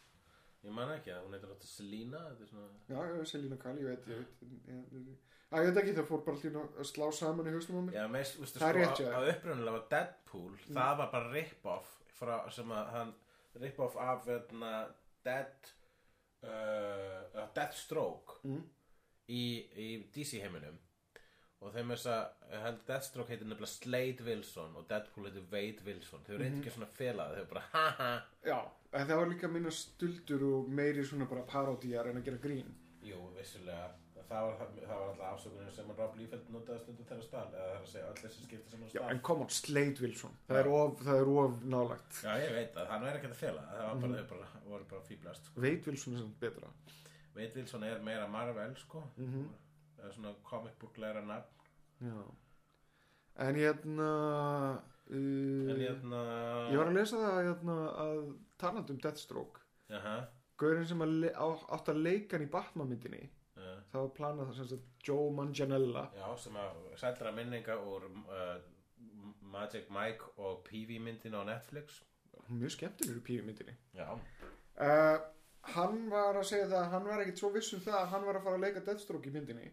Speaker 4: ég man ekki að hún heitir alltaf Selina þetta er svona
Speaker 3: Já, já, Selina Kali, ég veit, ég veit ég- ég- ég- Æ, ég veit ekki, það fór bara allir að slá saman í haustum á mér
Speaker 4: Já, meist, ústu,
Speaker 3: Það er rétt,
Speaker 4: sko,
Speaker 3: já. Mm.
Speaker 4: að upprunalega var Deadpool það var bara rip-off frá, sem að hann rip-off af veitna, Dead uh, Deathstroke
Speaker 3: Mm.
Speaker 4: í, í DC heiminum og þeim er þess að ég held Deathstroke heitir nefnilega Slade Wilson og Deadpool heitir Wade Wilson þau eru
Speaker 3: Mhm.
Speaker 4: mm ekki svona felað, þau eru bara haha
Speaker 3: Já, en það var líka minna stuldur og meiri svona bara parodíjar en að gera grín
Speaker 4: Jú, vissulega það var, það var alltaf afsökunum sem að Rob Liefeld notaði stundum þeirra stál eða það er að segja öll þessi skipti sem hann
Speaker 3: Já,
Speaker 4: stál
Speaker 3: en come on, Slade Wilson Það
Speaker 4: Já.
Speaker 3: er of, það er of nálægt
Speaker 4: Já, ég veit að hann er ekkert að fela það var bara, þau bara, voru bara fýblast sko.
Speaker 3: Veit Wilson er samt betra
Speaker 4: Veit Wilson er meira Marvel sko
Speaker 3: Mhm.
Speaker 4: það er svona comic book læra nafn
Speaker 3: Já En hérna uh,
Speaker 4: en hérna
Speaker 3: Ég var að lesa það hérna, að talandi um Deathstroke
Speaker 4: Jaha,
Speaker 3: Gaurinn sem að le- á- átti að leika hann í Batman myndinni
Speaker 4: uh,
Speaker 3: Það var planað það sem sagt Joe Manganiella
Speaker 4: já, sem að sættra minninga úr uh, Magic Mike og PV myndin á Netflix
Speaker 3: Mjög skemmtilegur í píu myndinni
Speaker 4: Já,
Speaker 3: uh, hann var að segja það að hann var ekkit svo viss um það að hann var að fara að leika Deathstroke í myndinni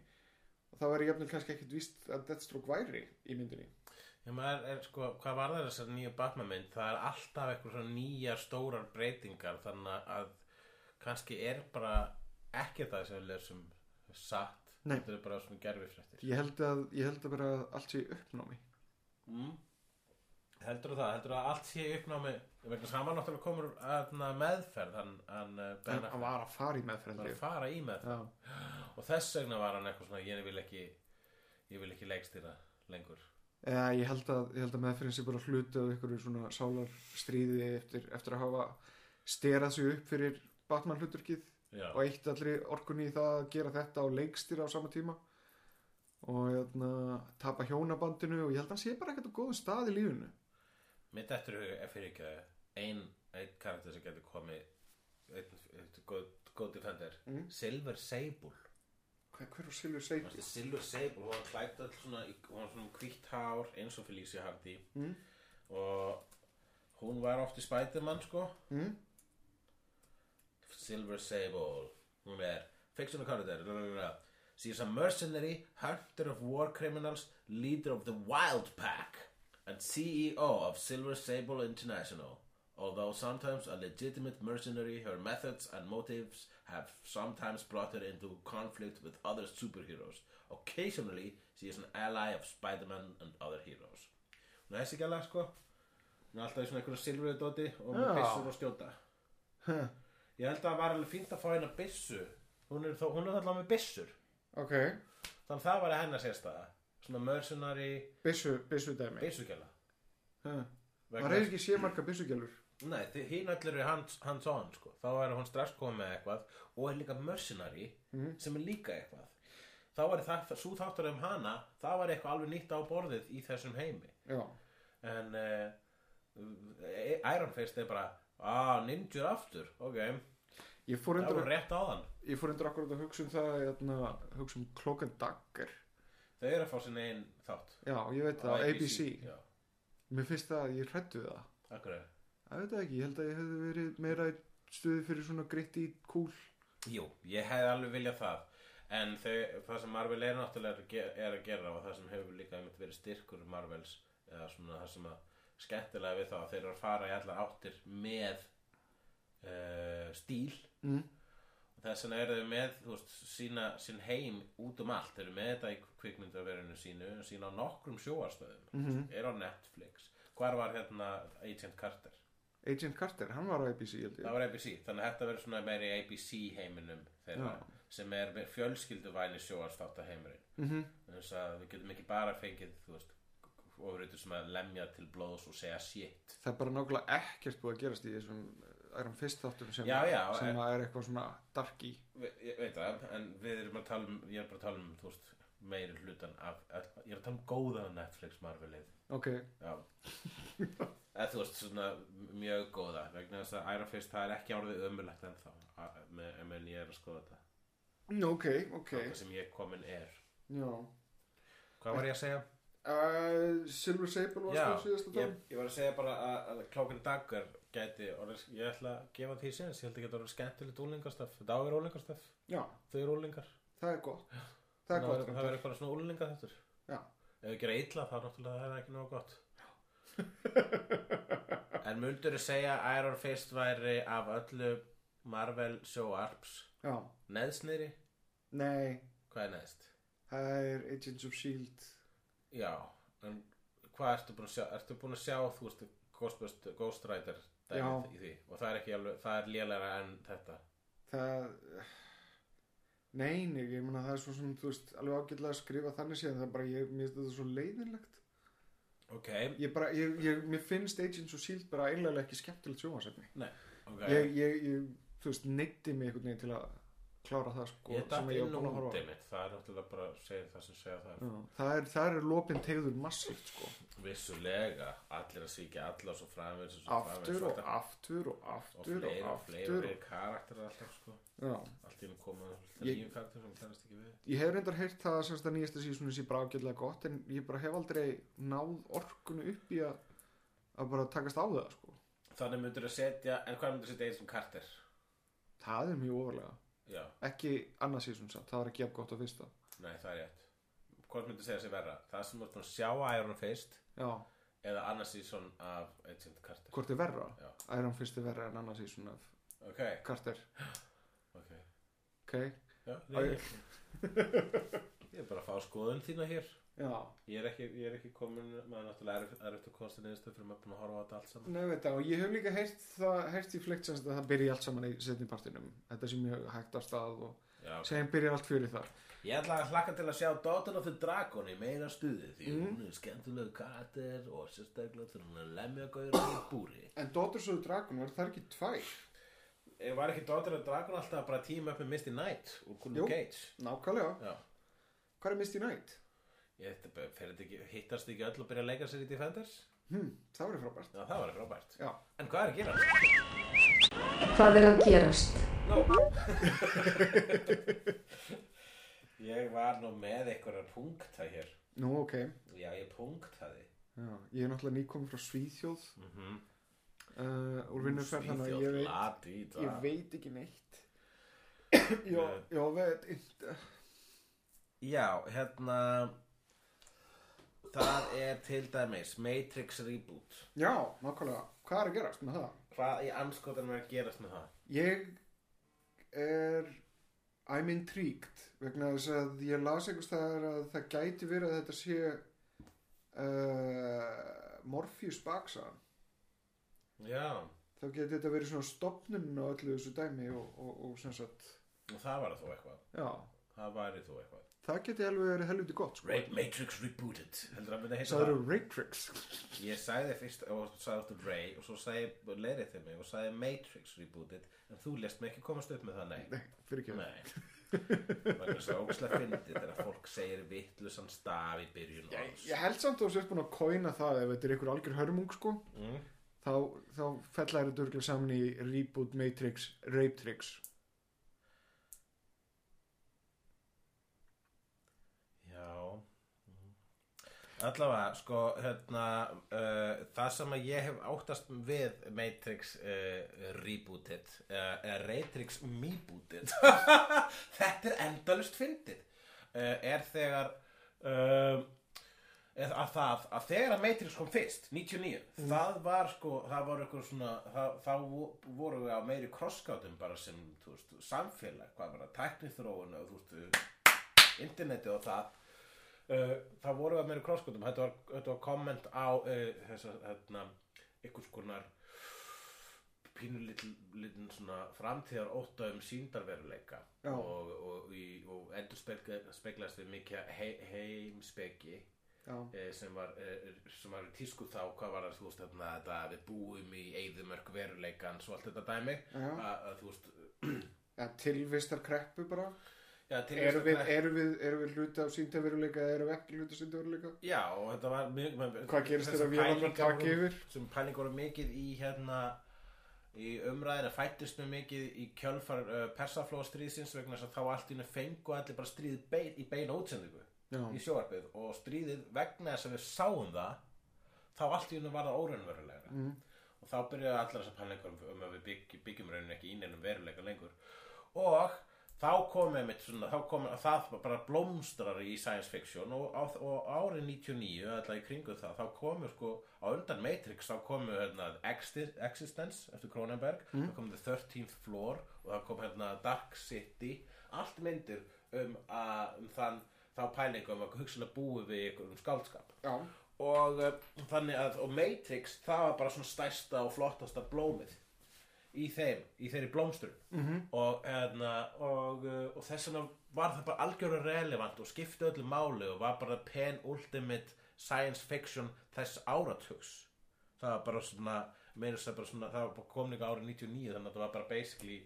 Speaker 3: og það var jafnvel kannski ekkit víst að Deathstroke væri í myndinni
Speaker 4: Já, maður er, sko, hvað var það þessar nýja Batman mynd? Það er alltaf eitthvað svona nýjar stórar breytingar þannig að kannski er bara ekki það sem við lesum satt
Speaker 3: Nei.
Speaker 4: þetta er bara svona gerfifrættir
Speaker 3: ég held að, ég held að bara allt sé í uppnámi
Speaker 4: mm. Heldur það, heldur það að allt sé í uppnámi vegna þess að hann var náttúrulega komur aðna meðferð hann, hann eh, Ben
Speaker 3: en
Speaker 4: Affleck
Speaker 3: hann var að fara í
Speaker 4: var
Speaker 3: meðferðandi
Speaker 4: að fara í meðferð
Speaker 3: já,
Speaker 4: og þess vegna var hann eitthvað svona ég vil ekki, ég vil ekki leikstýra lengur
Speaker 3: Eða, ég, held að, ég held að meðferðin sé bara hluti af einhverju svona sálarstríði eftir, eftir að hafa sterað sig upp fyrir Batman hluturkið
Speaker 4: Já,
Speaker 3: og eitt allri orkunni í það að gera þetta á leikstýra á sama tíma og jæna, tapa hjónabandinu og ég held að hann sé bara ekkert á góðum stað í lífinu
Speaker 4: Mitt eftir hug er fyrir ekki ein, ein karakter sem getur komið einn einn góð, góð defender
Speaker 3: Mm.
Speaker 4: Silver Sable
Speaker 3: Hver, hver var Silvur Seiti?
Speaker 4: Manstu, Silver Sable, hún var klætt öll svona í- hún var svona um hvítt hár eins og Felicia Hardy
Speaker 3: Mm.
Speaker 4: og hún var oft í Spiderman sko
Speaker 3: Mm?
Speaker 4: Silver Sable hún er fictional character blah, blah, blah. she is a mercenary hunter of war criminals leader of the wild pack and CEO of Silver Sable International although sometimes a legitimate mercenary her methods and motives have sometimes brought her into conflict with other superheroes occasionally she is an ally of Spider-Man and other heroes hún er þessi gæla sko hún er alltaf í svona einhverju silfrið dóti og hún
Speaker 3: Já.
Speaker 4: er pissur og skjóta Ég held að það var alveg fínt að fá hérna byssu Hún er, þó, hún er allavega með byssur
Speaker 3: Ok,
Speaker 4: Þannig að það var að hennar sérstæða Svona mercenary
Speaker 3: byssu, byssu dæmi
Speaker 4: byssugjala
Speaker 3: Ha. Það
Speaker 4: Vegna-
Speaker 3: reyðir ekki sé marga byssugjálur
Speaker 4: Nei, því hinn allir eru hands, hands on sko. Þá er hún strax komið með eitthvað Og er líka mercenary sem er líka eitthvað Þá var það, svo þáttur um hana Það var eitthvað alveg nýtt á borðið í þessum heimi
Speaker 3: Já,
Speaker 4: En uh, E- Iron Fist er bara ah, ninjur aftur, ok
Speaker 3: Ég
Speaker 4: það
Speaker 3: fór endur,
Speaker 4: voru rétt áðan
Speaker 3: ég fór endur akkurat að hugsa um það, hérna, hugsa um Cloak and Dagger.
Speaker 4: þau eru að fá sinni einn þátt
Speaker 3: Já, ég veit það,
Speaker 4: Á
Speaker 3: ABC.
Speaker 4: já,
Speaker 3: Mér finnst það að ég hrættu við það.
Speaker 4: akkurat
Speaker 3: Það veit það ekki, ég held að ég hefði verið meira í stuði fyrir svona gritti kúl.
Speaker 4: Jú, ég hefði alveg viljað það en þau, það sem Marvel er náttúrulega að ge- er að gera og það sem hefur líka einmitt verið styrkur Marvels eða svona það sem að skemmtilega við þá að þeir eru að fara í allar áttir með uh, stíl
Speaker 3: Mm.
Speaker 4: þess vegna eru þau með þú veist, sína, sín heim út um allt þeir eru með þetta í kvikmyndaverinu sínu sína á nokkrum sjóarstöðum mm
Speaker 3: mhm.
Speaker 4: -hmm. er á Netflix hvar var hérna Agent Carter
Speaker 3: Agent Carter, hann var á ABC, ég held
Speaker 4: það
Speaker 3: ég.
Speaker 4: var ABC, þannig að þetta verður svona meiri ABC heiminum þeirra sem er með fjölskylduvæli sjóarstáta heimurinn mm
Speaker 3: Mhm.
Speaker 4: -hmm. þannig að við getum ekki bara fengið þú veist, ofriður sem að lemja til blóðs og segja shit
Speaker 3: Það er bara nákvæmlega ekkert búið að gerast í þessum Iron Fist þáttum sem,
Speaker 4: Já, já,
Speaker 3: sem
Speaker 4: en-
Speaker 3: að er eitthvað svona dark í.
Speaker 4: Ve ég veit það, en við erum að tala um ég er bara að tala um, þú veist, meiri hlutan af, ég er að tala um góða Netflix Marvelið
Speaker 3: Ok,
Speaker 4: Já
Speaker 3: (laughs)
Speaker 4: Eða þú veist svona mjög góða vegna þess að Iron Fist það er ekki árið ömulegt ennþá að- me- meðan ég E er að skoða þetta
Speaker 3: Nú, Mm, ok, ok.
Speaker 4: okay. sem ég komin er
Speaker 3: Já.
Speaker 4: Hvað var ég að segja?
Speaker 3: Uh, Silver Sable var
Speaker 4: Já,
Speaker 3: sko síðast að
Speaker 4: ég, ég var að segja bara að, að klókan dagur gæti, orðið, ég ætla að gefa því séns, ég held ekki að það eru skemmtilegt úlingastöf þetta á er úlingastöf,
Speaker 3: Já,
Speaker 4: þau eru úlingar
Speaker 3: það er gott. Það er gott.
Speaker 4: það verður bara svona úlinga þettur
Speaker 3: Já.
Speaker 4: ef þau gera illa þá náttúrulega það er ekki nóg gott en mundur að segja að Iron Fist væri af öllu Marvel sjóarps
Speaker 3: Já,
Speaker 4: neðsnýri,
Speaker 3: nei,
Speaker 4: hvað er neðst?
Speaker 3: það er Agents of S.H.I.E.L.D.
Speaker 4: Já, en hvað ertu búin að sjá, ertu búin að sjá þú veist, Ghostbust, Ghost Rider dæmið
Speaker 3: Já.
Speaker 4: í því og það er ekki alveg, það er lélæra en þetta
Speaker 3: það nei, nei, ég meina það er svo svona, þú veist, alveg ágætlega að skrifa þannig síðan það er bara, ég, mér finnst þetta svo leiðinlegt
Speaker 4: Ok,
Speaker 3: ég bara, ég, ég, mér finnst Agents of S.H.I.E.L.D. E bara einlega ekki skemmtilegt sjónvarsefni
Speaker 4: nei, ok
Speaker 3: ég, ég, ég, þú veist, neytti mig einhvern veginn til að klára það sko,
Speaker 4: ég datt
Speaker 3: var
Speaker 4: inn
Speaker 3: búinn
Speaker 4: og
Speaker 3: horfa á.
Speaker 4: út einmitt, það er náttúrulega bara að segja það sem segja það
Speaker 3: Já, það er, það er lopin tegður massíft sko,
Speaker 4: Vissulega, allir að svíkja alla og svo framvegis og svo
Speaker 3: aftur og
Speaker 4: framvegis
Speaker 3: aftur og
Speaker 4: og
Speaker 3: aftur
Speaker 4: fleiri
Speaker 3: og
Speaker 4: og
Speaker 3: aftur
Speaker 4: fleiri
Speaker 3: og,
Speaker 4: karakterar alltaf sko
Speaker 3: já,
Speaker 4: Allt í henni koma alltaf
Speaker 3: Ég-
Speaker 4: nýjum karakter sem kannast ekki við
Speaker 3: ég hef reyndar heyrt það að semst að nýjasta sísunni sé bara ágætlega gott en ég bara hef aldrei náð orkunu upp í að, að bara takast á það sko
Speaker 4: Þannig myndur að setja, en hvað myndur að setja eins og karakter?
Speaker 3: Það er mjög ofarlega.
Speaker 4: Já,
Speaker 3: Ekki annað sísón samt, það var ekki jafn gott á fyrsta.
Speaker 4: nei það er rétt Hvort myndur að segja sér verra? Það sem þú ert búin að sjá Iron Fist
Speaker 3: Já,
Speaker 4: eða annars sísón af Agent Carter
Speaker 3: hvort er verra?
Speaker 4: Já.
Speaker 3: Iron Fist er verra en annað sísón af
Speaker 4: ok,
Speaker 3: Carter,
Speaker 4: ok
Speaker 3: ok?
Speaker 4: já,
Speaker 3: nei, ég-
Speaker 4: (laughs) ég er bara að fá skoðun þína hér
Speaker 3: Já.
Speaker 4: ég er ekki, ég er ekki komin maður náttúrulega er, er eftir kostið neðstöð fyrir maður búin að horfa á þetta allt saman
Speaker 3: Nei, veit það, og ég hef líka heyrt það, heyrt í flekt sem sagt að það byrja allt saman í setni partinum. Þetta sé mjög hægt af stað og
Speaker 4: já, ok.
Speaker 3: segjum byrja allt fyrir það.
Speaker 4: ég ætla að hlakka til að sjá Daughter of the Dragon í meira stuði því
Speaker 3: Mhm.
Speaker 4: hún er skemmtilegu karakter og sérstaklega þegar hún er að lemja gauður á búri
Speaker 3: En Daughters of the Dragon, var það ekki tvær?
Speaker 4: ég var ekki Daughter of the Dragon alltaf bara team up með Misty Knight úr
Speaker 3: Jú.
Speaker 4: Gunnar Cage
Speaker 3: Nákvæmlega.
Speaker 4: já
Speaker 3: Hvað er Misty Knight?
Speaker 4: Ég, þetta bara- fer þetta ekki, hittast ekki öll að byrja að leika sér í Defenders?
Speaker 3: Hm, það verið frábært.
Speaker 4: Já, það var frábært.
Speaker 3: Já.
Speaker 4: En hvað er að gera?
Speaker 5: Hvað er að gerast?
Speaker 4: Ég var nú með einhverjar punkta hér
Speaker 3: Nú, ok.
Speaker 4: Já, ég punktaði
Speaker 3: Já, ég er náttúrulega nýkomin frá Svíþjóð. Mm -hmm. uh, úr vinnuferð þannig að ég veit...
Speaker 4: veit
Speaker 3: Ég veit ekki neitt Já, já, veit inte.
Speaker 4: Já, hérna Það er til dæmis Matrix Reboot
Speaker 3: Já, nákvæmlega, hvað er að gerast með það?
Speaker 4: Hvað í anskotanum er að gerast með það?
Speaker 3: Ég er I'm intrigued vegna þess að ég las einhvers staðar að það gæti verið að þetta sé uh, Morpheus baksan
Speaker 4: Já,
Speaker 3: þá geti þetta verið svona stopnun og öllu þessu dæmi og, og, og sem sagt
Speaker 4: og það var þó eitthvað
Speaker 3: já,
Speaker 4: Það væri þó eitthvað
Speaker 3: það geti alveg verið helviti gott sko.
Speaker 4: Matrix Rebooted Heldur að myndi heita
Speaker 3: Það eru Raytrix
Speaker 4: Ég sagði fyrst og sagði aftur Ray og svo sagði leirið þeim mig og sagði Matrix Rebooted en þú lest mig ekki komast upp með það, nei
Speaker 3: (laughs) Nei, fyrir ekki
Speaker 4: Nei Það er svo ógslag fyndið þegar fólk segir vittlusan staf í byrjun
Speaker 3: Ég held samt að þú sért búin að kóina það ef þetta er einhver algjör hörmung sko
Speaker 4: Mm.
Speaker 3: þá, þá fellar þetta örgulega saman í Reboot Matrix Rape Tricks
Speaker 4: Já Mm. Allavega, sko, hérna, uh, það sem að ég hef áttast við Matrix uh, Rebooted, uh, uh, Matrix Mebooted, (laughs) þetta er endalust fyndið, uh, er þegar, uh, er að það, að þegar að Matrix kom fyrst, 99, það var sko, það voru eitthvað svona, það, þá vo- voru við á meiri krosskátum bara sem, þú veist, samfélag, hvað var það, tæknithróun og, þú veist, interneti og það uh, það voru að meira krosskotum þetta var, þetta var komment á uh, þessa, hérna, einhvers konar pínulítinn svona framtíðar ótta um síndarveruleika
Speaker 3: Já.
Speaker 4: og, og, í, og endur speglast við mikið he, heimspeki
Speaker 3: já,
Speaker 4: eh, sem var, eh, sem var í tísku þá hvað var það, þú veist, þarna, þetta að við búum í eigðumörk veruleikan, svo allt þetta dæmi
Speaker 3: Já.
Speaker 4: að, að þú veist
Speaker 3: ja, tilvistar kreppu bara
Speaker 4: já, til-
Speaker 3: erum við, erum við, erum við hluti af síndaveruleika eða erum við ekki hluti af síndaveruleika
Speaker 4: Já, og þetta var mjög menn-
Speaker 3: Hvað gerist
Speaker 4: þessar
Speaker 3: þegar vélarnar
Speaker 4: pælingar
Speaker 3: taka
Speaker 4: voru-
Speaker 3: yfir?
Speaker 4: Sem pæling voru mikið í hérna í umræðina fættist mjög mikið í kjölfar uh, persaflóa stríðsins vegna þess að þá allt í henni fengu allir bara stríð bein, í beina útsendingu
Speaker 3: Já.
Speaker 4: í sjóarbið og stríðið vegna þess að við sáum það þá allt í henni var það óraunverulega
Speaker 3: Mhm.
Speaker 4: mm. og þá byrjaði allar þessar pælingar um- um að við bygg, byggjum rauninu ekki í neinum veruleika lengur og þá komið mitt svona, þá komið, það bara blómstrar í science fiction og, á, og árið 99, alltaf í kringu það, þá komið sko, á undan Matrix þá komið hérna Exi- Existence eftir Cronenberg, þá komið The 13th Floor og þá kom hérna Dark City, allt myndir um, að, um þann, þá pælingu um að hugsanlega búið við einhverjum skáldskap
Speaker 3: já,
Speaker 4: og uh, þannig að og Matrix það var bara svona stærsta og flottasta blómið í þeim, í þeirri blómstur -hmm. og, hérna, og, uh, og þess vegna var það bara algjöru relevant og skipti öllu máli og var bara pen ultimate science fiction þess áratugs það var bara svona, meira þess að bara svona það var bara komninga árið 99 þannig að það var bara basically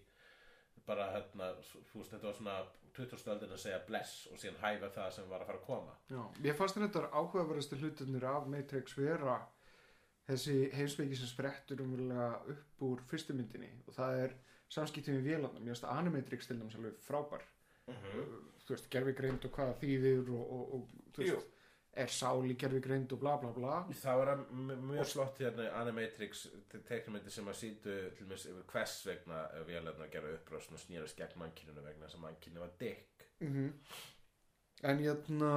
Speaker 4: bara hérna, þú veist, þetta var svona 20. öldin að segja bless og síðan hæfa það sem var að fara að koma
Speaker 3: já ég fannst þetta áhugaverðasti hlutinir af Matrix vera þessi heimsveiki sem sprettur umverulega upp úr fyrstu myndinni og það er samskiptum við vélarnar, mér finnst Animatrix til dæmis alveg frábær
Speaker 4: Mhm.
Speaker 3: Uh, þú veist, gerfigreind og hvað það þýðir og, og, og þú veist, er sál í gerfigreind og bla bla bla
Speaker 4: Það var að m- mjög slott hérna í Animatrix te- teiknumyndi sem að sýndu til mér yfir hvers vegna vélarnar gera uppröðsn og snýrast gegn mannkyninu vegna þess að mannkyninu var dykk.
Speaker 3: Mhm. en hérna, jæna,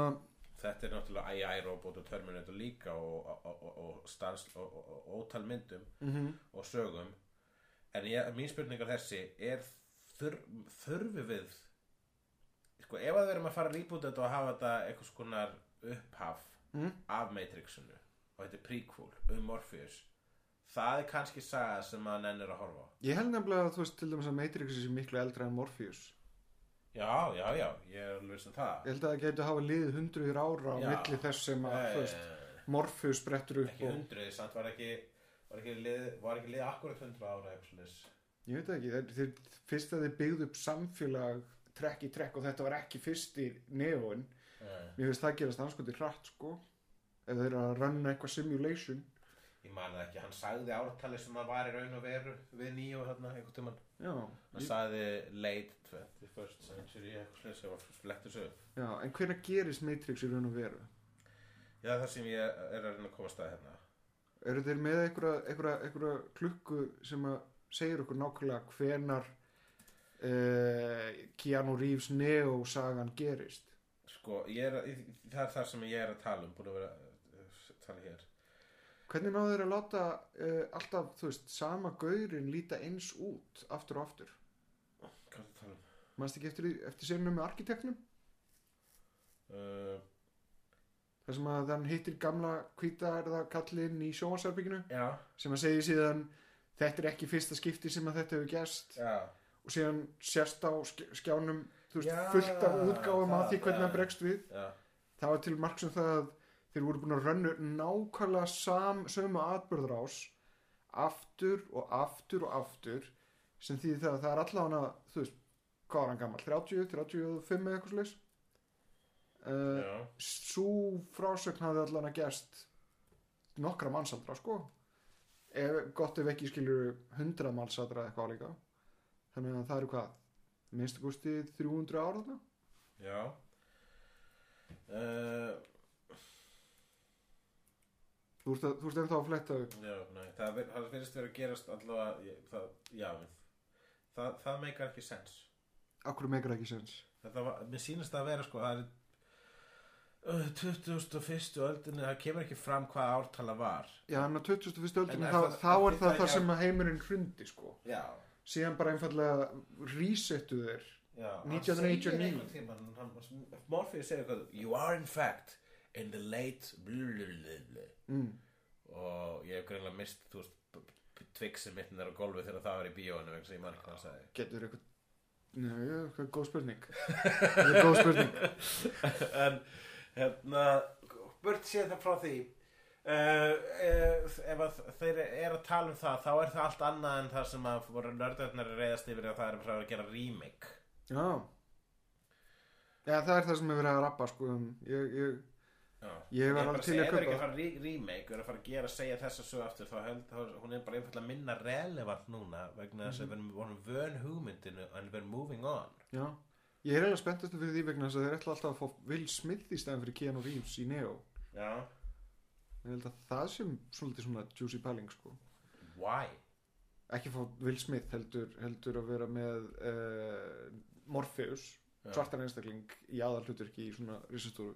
Speaker 4: Þetta er náttúrulega AI robot og Terminator líka og, og, og, og, stans, og, og, og ótal myndum -hmm. og sögum. En ég, mín spurning er þessi, er þur, þurfi við, sko ef að við erum að fara að rýbúta þetta og hafa þetta eitthvað skonar upphaf
Speaker 3: mhm.
Speaker 4: mm. af Matrixinu og þetta er prequel um Morpheus, það er kannski saga sem maður nennir að horfa á.
Speaker 3: ég held nefnilega að þú veist til dæmis að Matrix er miklu eldra en Morpheus
Speaker 4: Já, já, já, ég er alveg sem það.
Speaker 3: ég held að það getur hafa liðið hundruður ára á
Speaker 4: Já.
Speaker 3: milli þess sem að, þú veist, Morpheus sprettur upp
Speaker 4: Eh, ekki
Speaker 3: og,
Speaker 4: hundruð, samt var ekki, var ekki lið, var ekki lið akkurat hundra ára eitthvað svoleiðis.
Speaker 3: ég veit það ekki, þeir, þeir, fyrst að þeir byggðu upp samfélag trekk í trekk og þetta var ekki fyrst í neón
Speaker 4: Nei.
Speaker 3: mér finnst það gerast anskoti hratt sko ef þeir eru að ranna eitthvað simulation
Speaker 4: Ég man það ekki, hann sagði ártali sem hann var í raun og veru við nýju þarna einhvern tímann.
Speaker 3: já,
Speaker 4: Hann sagði late 21st century eitthvað slags, það var flektur sög.
Speaker 3: já en hvernig gerist Matrix í raun og veru
Speaker 4: Já, það sem ég er að reyna að komast að hérna.
Speaker 3: eru þeir með einhverja, einhverja, einhverja klukku sem að segir okkur nákvæmlega hvenar uh, Keanu Reeves Neo sagan gerist
Speaker 4: Sko, ég er, að- það er það sem ég er að tala um, búin að vera að tala hér.
Speaker 3: hvernig náðu þeir að láta uh, alltaf, þú veist, sama gaurin líta eins út aftur og aftur
Speaker 4: Hvað er það að tala um?
Speaker 3: mannst ekki eftir, eftir senum með arkiteknum
Speaker 4: Uh,
Speaker 3: þar sem að hann hittir gamla hvíta er það kallinn í sjónvarsarbygginu
Speaker 4: já,
Speaker 3: sem að segja síðan þetta er ekki fyrsta skipti sem að þetta hefur gerst
Speaker 4: já.
Speaker 3: og síðan sérst á sk- skjánum þú veist,
Speaker 4: Já,
Speaker 3: fullt af útgáfum að
Speaker 4: það,
Speaker 3: því hvernig
Speaker 4: já.
Speaker 3: hann bregst við
Speaker 4: Já,
Speaker 3: það var til marg sem það að þeir voru búin að rönnu nákvæmlega sam, sömu atbyrðrás aftur og aftur og aftur sem því það að það er allavega þú veist, hvað var hann gammal 30, 35 eða eitthvað slags uh,
Speaker 4: já.
Speaker 3: svo frásögn hafði allavega gerst nokkra mannsaldra sko ef, gott ef ekki skilur hundra málsatra eitthvað líka þannig að það eru hvað minnstu gústi 300 ára þarna
Speaker 4: Já uh,
Speaker 3: þú ert, að, þú ert ennþá að fletta upp
Speaker 4: Já, nei, það, vir- það finnst verið að gerast allavega ég- það, Já, það, það meikar ekki sens
Speaker 3: akkur meikar ekki sens
Speaker 4: Þetta var, mér sýnist það að vera sko það er uh, 21. öldinni það kemur ekki fram hvað ártala var
Speaker 3: já en á 21.
Speaker 4: En
Speaker 3: öldinni
Speaker 4: er
Speaker 3: þá,
Speaker 4: það-
Speaker 3: þá er
Speaker 4: er
Speaker 3: það
Speaker 4: það
Speaker 3: það
Speaker 4: ekki
Speaker 3: sem að heimurinn hrundi sko
Speaker 4: Já,
Speaker 3: síðan bara einfallega resetu þeir
Speaker 4: já
Speaker 3: 1989.
Speaker 4: Morfið segir eitthvað You are in fact in the late blululululu
Speaker 3: mm.
Speaker 4: og ég hef greinlega mist þú veist b- b- tvigsið mitt nær á gólfi þegar það var í bíóinu vegna sem ég man ekki hvað það sagði
Speaker 3: getur eitthvað Nei, það er góð spurning Það er góð spurning
Speaker 4: (laughs) en hérna burt séð það frá því uh, uh, ef að þeir eru að tala um það þá er það allt annað en það sem að voru nördarnar að reyðast yfir að það er bara að gera remake
Speaker 3: Já Já, það er það sem er verið að rappa sko um, ég, ég,
Speaker 4: Já.
Speaker 3: Ég var
Speaker 4: bara
Speaker 3: alveg
Speaker 4: að
Speaker 3: til í
Speaker 4: segja,
Speaker 3: að
Speaker 4: ef það er ekki
Speaker 3: kaupa.
Speaker 4: að fara að re- remake er að fara að gera að segja þessa sög aftur þá held, þá, er- hún er bara einfallega minna relevant núna vegna
Speaker 3: Mhm.
Speaker 4: þess að við erum- vorum vön hugmyndinu en við erum moving on
Speaker 3: Já, ég er eiginlega spenntastu fyrir því vegna þess að þeir ætla alltaf að fá Will Smith í stæðan fyrir Keanu Reeves í Neo
Speaker 4: Já.
Speaker 3: Ég held að það sem svolítið svona juicy pæling sko
Speaker 4: why?
Speaker 3: Ekki fá Will Smith heldur, heldur að vera með uh, Morpheus,
Speaker 4: Já.
Speaker 3: svartan einstakling í aðalhuturki í svona risastóru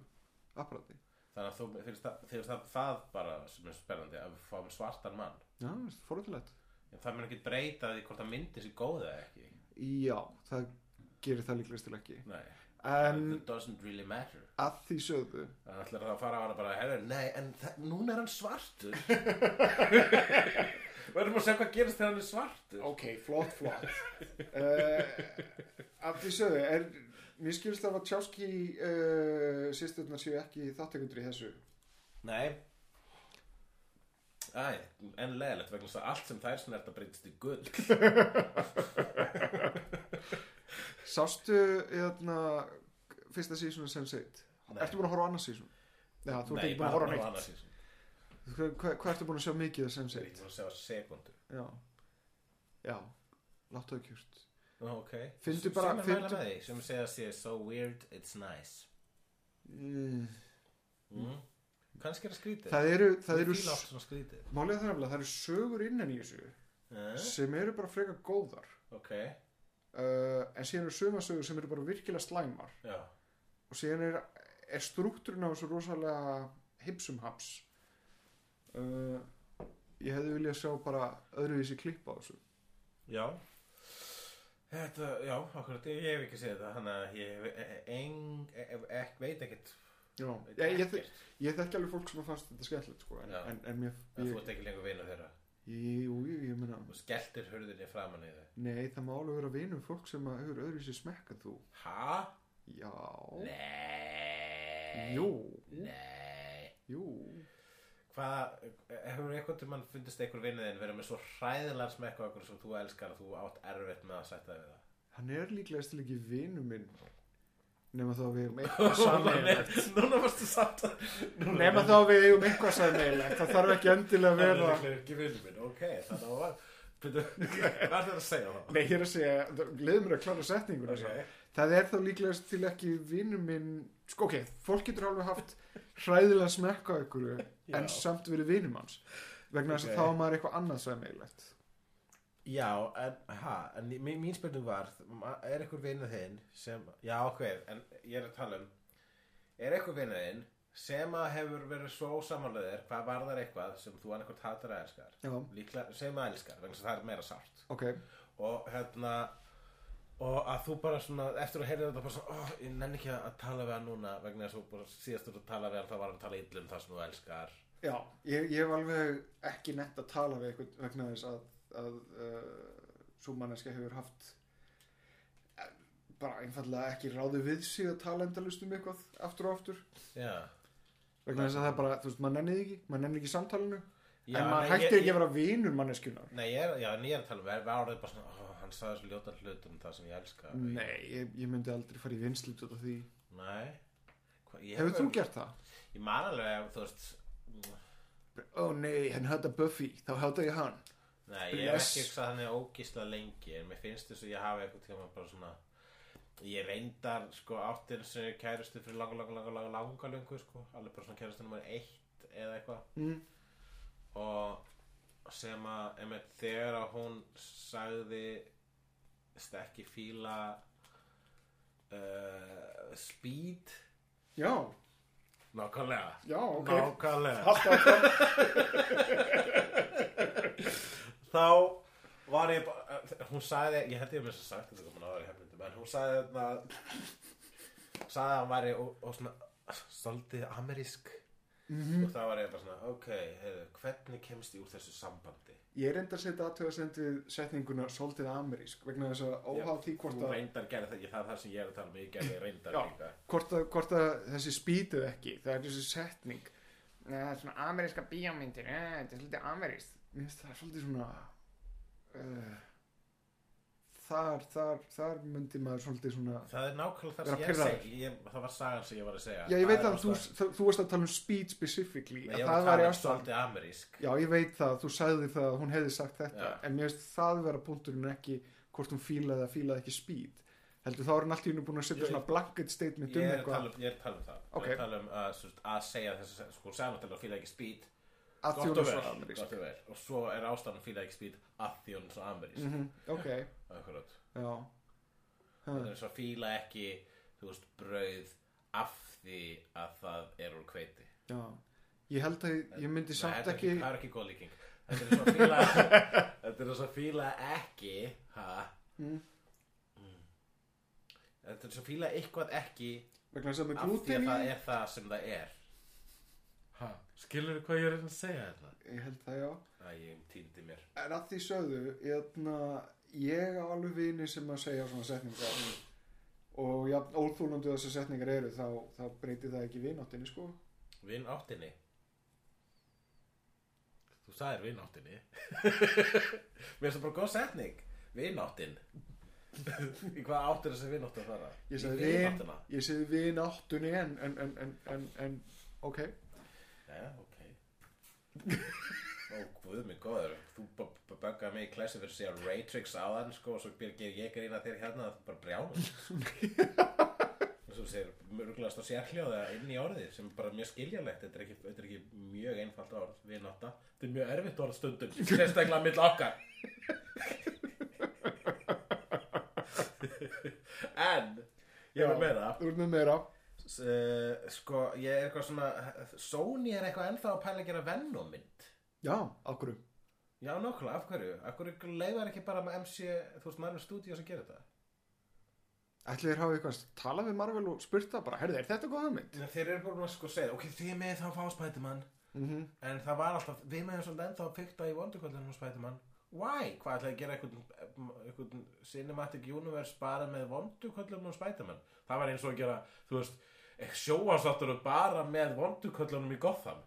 Speaker 3: apparati
Speaker 4: þannig að þú mér finnst það, finnst það, það bara sem er spennandi að við fáum svartan mann
Speaker 3: Já, það er fórhaldilegt
Speaker 4: en það mun ekki breyta því hvort það myndi sér góð eða ekki
Speaker 3: Já, það gerir það líklegast til ekki
Speaker 4: nei,
Speaker 3: En
Speaker 4: it doesn't really matter
Speaker 3: að því sögðu
Speaker 4: Það ætlar það að fara á hana bara, herru, nei, en það- núna er hann
Speaker 3: (laughs)
Speaker 4: svartur. Við erum að segja hvað gerist þegar hann er svartur.
Speaker 3: Ok, flott, flott uh, Af því sögðu er, Mér skilst af að Tjáski uh, sýsturnar séu ekki þáttakundur í þessu
Speaker 4: Nei Æ, en leðilegt vegna þess að allt sem þær snerta breytist í gull
Speaker 3: Sástu hérna, fyrsta sísonu sem seitt
Speaker 4: Nei.
Speaker 3: Ertu búin að horfa á annað sísun? Já, þú ert
Speaker 4: Nei,
Speaker 3: ekki búin að horfa á
Speaker 4: bara
Speaker 3: neitt
Speaker 4: annars í þessu.
Speaker 3: Hvað hva, hva ertu búin að sjá mikið af sem
Speaker 4: Ég er
Speaker 3: seitt?
Speaker 4: búin að segja sekundu
Speaker 3: Já, já Láttu það kjúrt
Speaker 4: Nú, ok
Speaker 3: Finndu bara-
Speaker 4: Sem er mæla
Speaker 3: finndu-
Speaker 4: með því, sem segja að sé so weird, it's nice
Speaker 3: mm,
Speaker 4: mm. Kannski er það skrítið
Speaker 3: Það eru, það
Speaker 4: Ég
Speaker 3: eru
Speaker 4: fíla oft svona skrítið
Speaker 3: Málega það er nefnilega, það eru sögur innan í þessu
Speaker 4: eh?
Speaker 3: sem eru bara frekar góðar
Speaker 4: Ok,
Speaker 3: uh, en síðan eru sögursögur sem eru bara virkilega slæmar
Speaker 4: já
Speaker 3: og síðan er, er struktúrin á þessu rosalega hipsum haps uh, ég hefði viljað sjá bara öðruvísi klipp á þessu
Speaker 4: Já Þetta, já, akkurat, ég ég hef ekki séð þetta Þannig að ég hef eng, e, e, e, veit ekkert
Speaker 3: Já,
Speaker 4: veit
Speaker 3: ég, ég,
Speaker 4: ekkert.
Speaker 3: þek- ég þekki alveg fólk sem að fannst þetta skemmtilegt sko, en,
Speaker 4: Já.
Speaker 3: en, en mér
Speaker 4: Að
Speaker 3: ég,
Speaker 4: Þú ert ekki lengur vinur þeirra
Speaker 3: ég, jú, jú, ég meina
Speaker 4: Þú skelltir hurðinni framan í þau
Speaker 3: nei, það má alveg vera vinum fólk sem að hefur öðruvísi smekk en þú
Speaker 4: Hæ?
Speaker 3: já,
Speaker 4: Nei
Speaker 3: jú,
Speaker 4: Nei
Speaker 3: jú
Speaker 4: Hvað, hefur eitthvað til mann fundist einhver vinniðin verið með svo hræðilega smekk á okkur sem þú elskar að þú átt erfitt með að sætta þig (laughs) við það?
Speaker 3: hann er líklegast til ekki vinum minn nema þá við erum
Speaker 4: (laughs)
Speaker 3: eitthvað sammeilegt
Speaker 4: Núna varstu samt að
Speaker 3: nema þá við eigum eitthvað sæmiðilegt það þarf ekki endilega að vera
Speaker 4: Það er ekki vinnur minn, ok, þannig að var Byrju, (laughs) Hvað er þetta að segja þá?
Speaker 3: Nei, ég er að segja, leiðum mér að klára setninguna
Speaker 4: Ok.
Speaker 3: okay. það er þá líklegast til ekki vinnu minn, sko ok, fólk getur alveg haft hræðilega smekka ykkur en samt verið vinnum hans vegna þess
Speaker 4: Ok.
Speaker 3: að þá er maður eitthvað annað sæmiðilegt
Speaker 4: Já, en, ha, en mín, mín spurning var ma- Er einhver vinnuð þinn sem Já, ok, en ég er að tala um Er einhver vinnuð þinn sem að hefur verið svo samanleðir hvað varðar eitthvað sem þú annarkvort hatar að elskar
Speaker 3: Já,
Speaker 4: líklega sem að elskar vegna þess að það er meira sárt
Speaker 3: ok,
Speaker 4: og hérna og að þú bara svona eftir að heyrða þetta bara svona oh, ég nenni ekki að tala við hann núna vegna þess að þú bara síðast þú ert að tala við hann þá var hann að tala illa um það sem þú elskar
Speaker 3: já ég, ég hef alveg ekki nett að tala við eitthvað vegna þess að, að uh, svo manneska hefur haft eh, bara einfallega ekki ráði við sig að tala endalust um eitthvað aftur og aftur
Speaker 4: já
Speaker 3: vegna þess að það er bara, þú veist, maður nennið ekki maður nennið ekki samtalinu
Speaker 4: Já,
Speaker 3: en maður
Speaker 4: nei,
Speaker 3: hættir
Speaker 4: ég-
Speaker 3: ekki að vera vinur manneskjunar
Speaker 4: Nei, ég er, já, en ég er að tala um, við árið bara svona, oh, hann sagði þessu ljóta hlut um það sem ég elska.
Speaker 3: nei, ég, ég myndi aldrei fara í vinslut út af því
Speaker 4: Nei. Hva, ég
Speaker 3: hefur þú gert það?
Speaker 4: Ég man alveg, þú veist,
Speaker 3: Ó, nei, hann hata Buffy, þá hata ég hann
Speaker 4: Nei, ég hef
Speaker 3: Bless.
Speaker 4: ekki hugsað þannig ógísla lengi en mér finnst þess að ég hafa eitthvað tíma bara svona ég reyndar sko áttir sem kærustu fyrir langa, langa, langa, langa, langa löngu sko, alveg bara svona kærustu nummer eitt eða eitthvað
Speaker 3: Mm.
Speaker 4: og sem að einmitt, þegar að hún sagði stekki fíla uh, speed
Speaker 3: já,
Speaker 4: nákvæmlega
Speaker 3: já, ok
Speaker 4: nákvæmlega
Speaker 3: Haltu áfram.
Speaker 4: (laughs) þá var ég bara, eh, hún sagði, ég held ég hef mér sem sagt þetta komin áður í hefnindum, en hún sagði þarna sagði að hann væri og, og svona svolítið amerísk
Speaker 3: Mhm. Mm.
Speaker 4: og þá var ég bara svona, ok, heiðu, hvernig kemst ég úr þessu sambandi?
Speaker 3: ég er enda að setja aðtöðasend við setninguna svolítið amerísk vegna þess að óháð því hvort
Speaker 4: Þú
Speaker 3: að
Speaker 4: reyndar gerði það, ég- það er það sem ég er að tala um, ég gerði reyndar
Speaker 3: Já.
Speaker 4: líka.
Speaker 3: hvort að, hvort að þessi spýtu ekki það er þessi setning Nei, það er svona ameríska bíómyndir eh, þetta er svolítið amerískt Mér finnst það er svolítið svona uh, þar, þar, þar myndi maður svolítið svona
Speaker 4: Það er nákvæmlega það
Speaker 3: Vera
Speaker 4: sem ég er að
Speaker 3: pirraður.
Speaker 4: segja, ég, það var sagan sem ég var að segja.
Speaker 3: já ég
Speaker 4: Það
Speaker 3: veit
Speaker 4: er
Speaker 3: að þú,
Speaker 4: ástæðan.
Speaker 3: þú, þú varst að tala um speed specifically
Speaker 4: Nei,
Speaker 3: að
Speaker 4: ég var
Speaker 3: það
Speaker 4: að
Speaker 3: var í
Speaker 4: tala um
Speaker 3: ástæðan
Speaker 4: svolítið amerísk.
Speaker 3: já ég veit það þú sagði það að hún hefði sagt þetta
Speaker 4: Já.
Speaker 3: en mér finnst það vera punkturinn ekki hvort hún fílaði eða fílaði ekki speed heldur þá er hún allt í hennu búin að setja
Speaker 4: Ég-
Speaker 3: svona blanket statement
Speaker 4: ég er
Speaker 3: um
Speaker 4: að
Speaker 3: eitthvað
Speaker 4: tala um, ég er að tala um það ég
Speaker 3: Ok.
Speaker 4: er að tala um að, svo, að segja þess að sko, samantalið fíla ekki speed
Speaker 3: að því
Speaker 4: gott og
Speaker 3: hún er
Speaker 4: vel,
Speaker 3: svona amerísk
Speaker 4: gott og vel og svo er ástæðan fíla ekki speed að því hún er svo amerísk mm
Speaker 3: Mhm, ok
Speaker 4: akkurat
Speaker 3: já Mm.
Speaker 4: það er svo fíla ekki þú veist brauð af því að það er úr kveiti
Speaker 3: Já, ég held að ég myndi
Speaker 4: Nei,
Speaker 3: samt
Speaker 4: þetta er
Speaker 3: ekki,
Speaker 4: það er ekki góð líking þetta er svo fíla
Speaker 3: (laughs)
Speaker 4: þetta er svo fíla ekki ha
Speaker 3: Mm.
Speaker 4: Mm. þetta er svo fíla eitthvað ekki
Speaker 3: vegna þess að með
Speaker 4: af því að
Speaker 3: glúten
Speaker 4: það
Speaker 3: í,
Speaker 4: er það sem það er ha skilur hvað ég er að reyna að segja þetta
Speaker 3: ég held það já,
Speaker 4: Æ, ég týndi mér
Speaker 3: en að því sögðu, hérna, ég á alveg vini sem að segja svona setningar og já, óþúlandu þessar setningar eru, þá, þá breytir það ekki vináttinni, sko.
Speaker 4: Vinn áttinni Þú sagðir vinn áttinni (laughs) Mér er það bara góð setning Vinn áttin (laughs) Í hvað áttir þessi vinn áttin fara? Í
Speaker 3: Ég segi vin,
Speaker 4: vináttina.
Speaker 3: ég segi vináttunni en, en, en, en, en, en, ok,
Speaker 4: Jæja, ok Ó, guð mig góður Þú böggaði mig í klessi fyrir að segja Raytrix áðan, sko Og svo ger ger ég grína þér hérna að þú bara brjánum Og svo segir mörgulast á sérhljóða inn í orðið sem er bara mjög skiljalegt Þetta er ekki, þetta er ekki mjög einfalt orð við notta Þetta er mjög erfitt orð stundum Sérstaklega mill okkar En Ég var með það
Speaker 3: þú ert með meira.
Speaker 4: S- eh, sko, ég er eitthvað svona Sony er eitthvað ennþá að pæla að gera Venom mynd
Speaker 3: Já, okkur,
Speaker 4: Já, nokkulega, af hverju? Af hverju leiðar ekki bara með MC, þú veist, Marvel Studios að gera þetta?
Speaker 3: ætli þér hafa eitthvað talað við Marvel og spurt það bara, herði, er þetta góða mynd?
Speaker 4: Nei, Þeir eru bara að sko segja, ok, þið með þá fá Spiderman -hmm. En það var alltaf, við meðum svolítið ennþá að fykta í vondurkvöldunum Spiderman Why? Hvað ætlaði að gera einhvern, einhvern cinematic universe bara með vondurkvöldunum Spiderman? Það var eins og að gera, þú veist, sjóasáttur bara með vondurkvöldunum í Gotham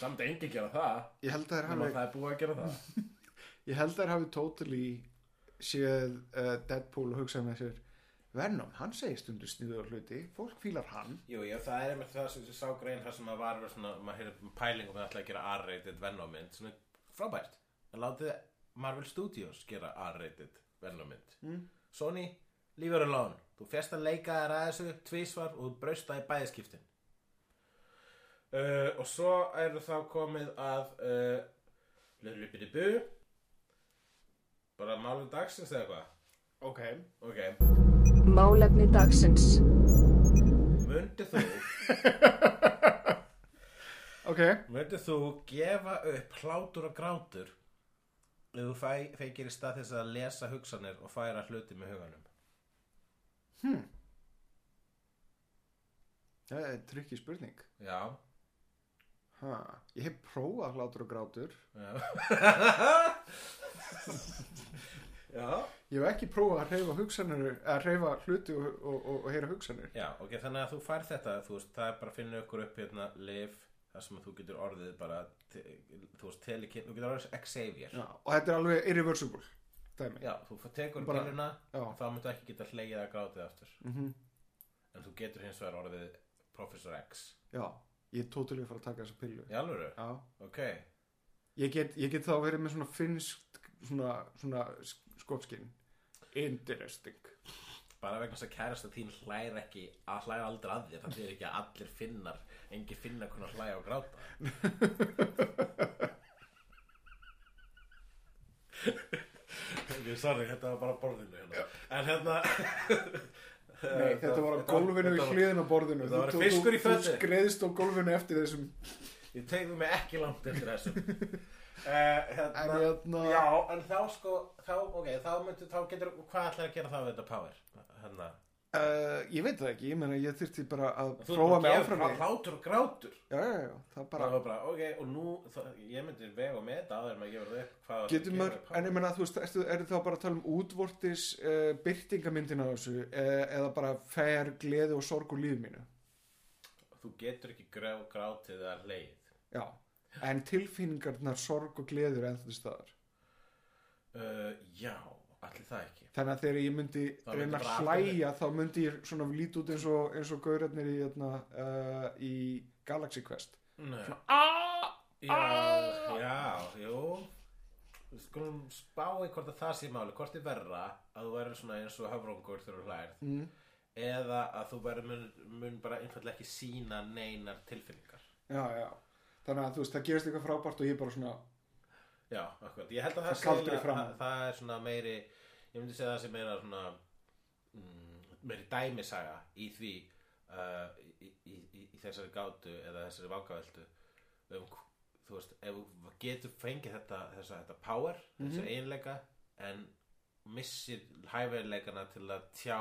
Speaker 4: Það myndi engi gera það
Speaker 3: Ég held að þér
Speaker 4: Nefnum
Speaker 3: hafi
Speaker 4: að það er búið að gera það
Speaker 3: Ég held að þær hafi totally séð uh, Deadpool og hugsað með sér Venom, hann segir stundu sniður hluti fólk fílar hann
Speaker 4: Jú, já, það er með það sem ég sá grein þar sem að var verið svona, maður heyrði pælingum að ætla að gera R-rated Venom mynd, svona frábært. En látið Marvel Studios gera R-rated Venom mynd. Mm. Sony, leave her alone. Þú fjast að leika þér að þessu tvísvar og þú braust það í bæðiskiptin. Uh, og svo eru þá komið að uh, Lullupiði Bu bara málum dagsins eða eitthvað.
Speaker 3: Ok
Speaker 4: Ok,
Speaker 5: Málefni dagsins.
Speaker 4: mundi þú
Speaker 3: Ok,
Speaker 4: Myndir þú gefa upp hlátur og grátur ef þú fæ, fekir í stað þess að lesa hugsanir og færa hluti með huganum?
Speaker 3: það er tryggi spurning
Speaker 4: Já.
Speaker 3: ha. Ég hef prófað hlátur og grátur
Speaker 4: Já.
Speaker 3: Ég hef ekki prófað að reyfa hugsanir að reyfa hluti og, og, og, og heyra hugsanir
Speaker 4: Já, ok, þannig að þú fær þetta, þú veist, það er bara að finna ykkur upp hérna lif þar sem að þú getur orðið bara, te- þú veist, telekinn, þú getur orðið Xavier.
Speaker 3: Já, og þetta er alveg irreversible dæmi.
Speaker 4: Já, þú f- tekur
Speaker 3: Bara-
Speaker 4: pilluna
Speaker 3: já.
Speaker 4: og þá myndu ekki geta hlegið að grátið aftur. Mm
Speaker 3: Mhm.
Speaker 4: -hmm. En þú getur hins vegar orðið Professor X.
Speaker 3: Já, ég er tótulega að fara að taka þessa pillu
Speaker 4: Í alvöru?
Speaker 3: Já,
Speaker 4: Ok,
Speaker 3: ég get, ég get þá verið með svona finnst svona, svona skopskinn interesting
Speaker 4: bara vegna þess að kærasta þín hlæra ekki að hlæra aldrei að þér það þýðir ekki að allir finnar engin finnar kunna hlæja og gráta ok, sorry, þetta var bara á borðinu hérna. en hérna
Speaker 3: Nei, þetta var á gólfinu í hliðin á borðinu
Speaker 4: þetta var
Speaker 3: Þú- þú-
Speaker 4: fiskur í fötu.
Speaker 3: Þú skreiðist á gólfinu eftir þessum
Speaker 4: ég tegði mig ekki langt eftir
Speaker 3: (laughs)
Speaker 4: þessum uh, hérna,
Speaker 3: En hérna-
Speaker 4: já, en þá sko þá, ok, þá myndu, þá getur hvað ætlar að gera þá við þetta power hérna,
Speaker 3: uh, Ég veit það ekki, ég meina ég þyrfti bara að
Speaker 4: Þú ert
Speaker 3: prófa
Speaker 4: bara
Speaker 3: mig
Speaker 4: að gefa
Speaker 3: áfram í.
Speaker 4: hrá- hlátur og grátur
Speaker 3: Já, já, já, það
Speaker 4: bara,
Speaker 3: bara
Speaker 4: bara, bara ok, og nú, það, ég myndi vega og meta áður en maður gefur það upp hvað það
Speaker 3: Getur maður,
Speaker 4: gefur upp.
Speaker 3: en ég meina, þú veist, ertu, ertu þá bara að tala um útvortis uh, byrtingamyndina á þessu uh, eða bara fer, gleði og sorg úr lífi mínu?
Speaker 4: þú getur ekki grá, grátið eða leið
Speaker 3: Já, en tilfinningarnar sorg og gleði er ennþá til staðar.
Speaker 4: uh, já, allir það ekki
Speaker 3: Þannig að þegar ég myndi
Speaker 4: Það myndi
Speaker 3: reyna
Speaker 4: bara
Speaker 3: að hlæja þá myndi ég svona lít út eins og, eins og gaurarnir í, hérna, uh, í Galaxy Quest.
Speaker 4: Nei.
Speaker 3: Ah!
Speaker 4: já, já, jú við skulum spái hvort að það sé máli hvort er verra að þú verður svona eins og höfrungur þegar þú hlærð mm. eða að þú verður mun, mun bara einfallega ekki sína neinar tilfinningar
Speaker 3: Já, já. Þannig að þú veist, það gerist eitthvað frábært og ég bara svona,
Speaker 4: Já, akkurat. Ég held að það,
Speaker 3: Það kaldur
Speaker 4: eiginlega-
Speaker 3: í framan.
Speaker 4: það, það er svona meiri, ég myndi segja það sem meira svona, mm, meiri dæmisaga í því, uh, í, í, í, í þessari gátu eða þessari vangaveltu. Um, hv- þú veist, ef þú getur fengið þetta, þessa, þetta power,
Speaker 3: Mhm.
Speaker 4: þessa einleika, en missir hæfileikana til að tjá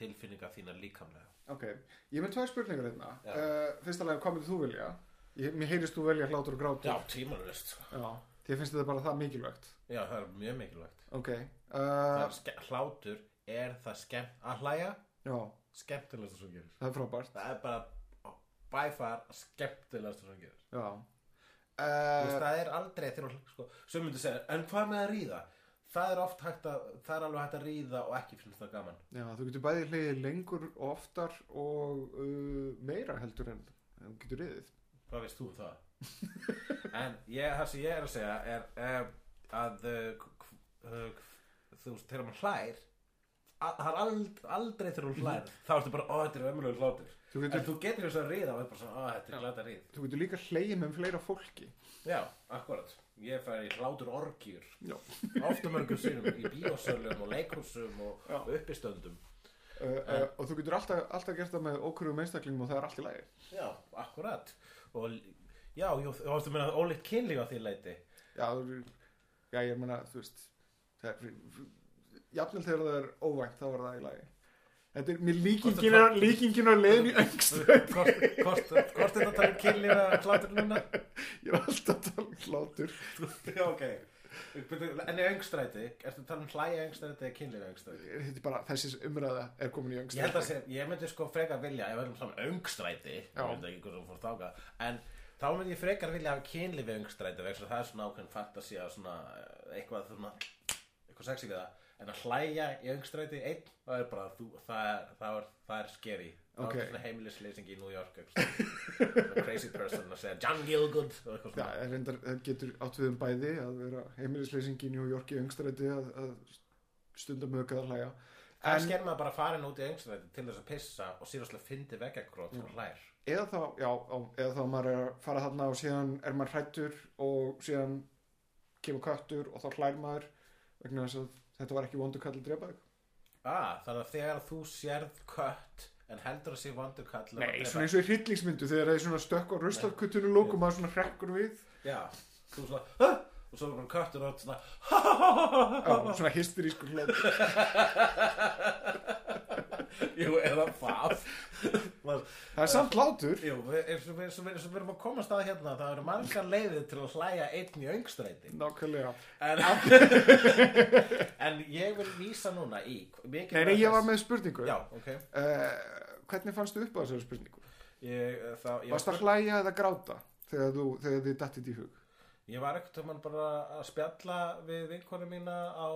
Speaker 4: tilfinninga þína líkamlega.
Speaker 3: ok, ég er með tvær spurningar hérna.
Speaker 4: Já.
Speaker 3: Uh, fyrsta lega, hvað myndir þú vilja? Ég, mér heyrist þú velja hlátur og grátur.
Speaker 4: Já, tímanlust.
Speaker 3: Já, því finnst þetta bara það mikilvægt
Speaker 4: Já, það er mjög mikilvægt.
Speaker 3: Ok
Speaker 4: Það
Speaker 3: uh,
Speaker 4: er ske- Hlátur er það skemmt að hlæja,
Speaker 3: Já,
Speaker 4: skemmtilegast sem gerir.
Speaker 3: það er frábært
Speaker 4: það er bara by far skemmtilegast sem hann gerir
Speaker 3: Já
Speaker 4: Þú veist,
Speaker 3: uh,
Speaker 4: það er aldrei þegar hún sko, sem myndi segja, en hvað með að ríða það er oft hægt að, það er alveg hægt að ríða og ekki finnst það gaman
Speaker 3: Já, þú getur bæði hlegið lengur og oftar og uh, meira heldur en en þú getur riðið
Speaker 4: hvað veist þú um það
Speaker 3: (laughs)
Speaker 4: en ég, það sem ég er að segja er um, að uh, k- uh, þú veist, þegar maður hlær a- það er ald- aldrei þegar hún hlær þá ertu bara, ó, þetta er ömulegur hlátur
Speaker 3: Þú
Speaker 4: en
Speaker 3: getur,
Speaker 4: þú getur þess að ríða og er bara svona, ó, þetta er glata ríð
Speaker 3: þú getur líka hlegið með fleira fólki
Speaker 4: já, akkurat, ég fær í hlátur orgjur
Speaker 3: Já
Speaker 4: ofta mörgum sinnum í bíósölum og leikhúsum og
Speaker 3: Já.
Speaker 4: uppistöndum
Speaker 3: Uh, uh, og þú getur alltaf, alltaf gert það með ókrufum einstaklingum og það er allt í lagi
Speaker 4: já, akkurat og l- já, jú, þú varstu að meina ólíkt kynlíf á því (laughs) leiti
Speaker 3: Já, þú eru- já ég meina, þú veist það er, jafnvel þegar það er óvænt þá er það í lagi Þetta er, mér líkingin er líkingin er leiðin í öngstu
Speaker 4: hvort hvort- hvort er þetta að tala um kynlíf eða hlátur núna?
Speaker 3: (laughs) Ég er alltaf að tala um hlátur
Speaker 4: já, ok en í öngstræti, ertu að tala um hlæja öngstræti eða kynlíf öngstræti?
Speaker 3: Þetta er bara, þessi umræða er komin í yngst
Speaker 4: ég held að segja, ég myndi sko frekar vilja ef við erum saman öngstræti ég
Speaker 3: Já.
Speaker 4: veit ekki hvað þú fór þáka en þá myndi ég frekar vilja hafa kynlífi öngstræti vegna þess að það er svona ákveðin fantasi að svona eh, eitthvað svona eitthvað sexy við það en að hlæja í öngstræti einn það er bara þú, það er, það er, það er scary það
Speaker 3: Ok.
Speaker 4: er svona heimilislýsing í New York eitthvað svona crazy person að segja John Gilgood og eitthvað
Speaker 3: Já,
Speaker 4: svona
Speaker 3: það reyndar, það getur átt við um bæði að vera heimilisleysingi í New York í yngstræti að, að stunda mögkað að hlæja
Speaker 4: það
Speaker 3: en-
Speaker 4: sker maður bara farin út í öngstræti til þess að pissa og síðan fyndi veggakrót og hlær
Speaker 3: eða þá, já, á, eða þá maður er að fara þarna og síðan er maður hrættur og síðan kemur köttur og þá hlær maður vegna þess að þetta var ekki vondu kall að drepa þig
Speaker 4: Ah, þannig að þegar þú sérð kött en heldur að sé vondur kall að drepa-
Speaker 3: svona eins og í hryllingsmyndu þegar það er svona stökk á rustarkuttunum lók og maður svona hrekkur við
Speaker 4: Já, þú svona Hah! og svo er bara köttur og svona
Speaker 3: já, svona hysterískur hlátur
Speaker 4: (laughs) Jú, eða hvað Maður-
Speaker 3: það er samt hlátur
Speaker 4: Jú, við- eins og við eins og við- eins og við erum að koma stað hérna það eru margar leiðir til að hlæja einn í öngstræti
Speaker 3: nákvæmlega
Speaker 4: en, (laughs) en ég vil vísa núna í mikið
Speaker 3: Nei, nei, ég var með spurningu
Speaker 4: Já, ok
Speaker 3: uh, hvernig fannst þú upp á þessari spurningu?
Speaker 4: ég, eh, þá, ég,
Speaker 3: Varst það að hlæja eða gráta þegar, þú, þegar þið dattið í hug?
Speaker 4: Ég var ekkert um hann bara að spjalla við vinkonu mína á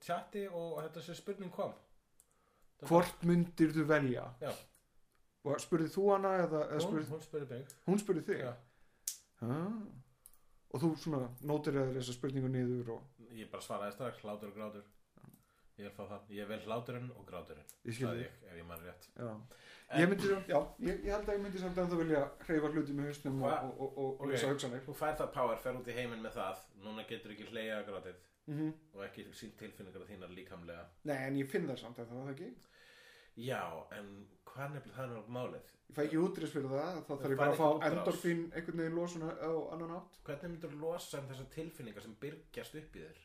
Speaker 4: tjatti og þetta sem spurning kom.
Speaker 3: Hvort myndir þú velja?
Speaker 4: Já,
Speaker 3: Og spurðið þú hana eða, eða
Speaker 4: hún,
Speaker 3: spurðið,
Speaker 4: hún spurði mig.
Speaker 3: hún spurðið þig?
Speaker 4: Já.
Speaker 3: Ah, og þú svona nótir þér þessa spurningu niður og
Speaker 4: Ég bara svaraði strax hlátur og grátur Ég vil fá það Ég vil hláturinn og gráturinn
Speaker 3: Ég skil
Speaker 4: Sagði
Speaker 3: þig.
Speaker 4: ég, ef ég man rétt
Speaker 3: já. ég myndi, já, ég, ég held að ég myndi samt að það vilja hreyfa hluti með hausnum og,
Speaker 4: Hva?
Speaker 3: og, og, og, og
Speaker 4: Ok.
Speaker 3: lesa hugsanir
Speaker 4: Þú fær það power, fer út í heiminn með það Núna getur ekki hleyja grátið
Speaker 3: mm
Speaker 4: Og ekki sínt tilfinningar þínar líkamlega
Speaker 3: nei, en ég finn það samt að það var það ekki
Speaker 4: Já, en hvað nefnilega það er nefnilega málið
Speaker 3: ég fæ ekki útrýst fyrir það, þá þarf
Speaker 4: Þú
Speaker 3: ég
Speaker 4: færð
Speaker 3: bara að fá
Speaker 4: ekki útrás.
Speaker 3: endorfín einhvern veginn losun á á annan átt
Speaker 4: Hvernig myndur losa um þessar tilfinningar sem byrgjast upp í þér?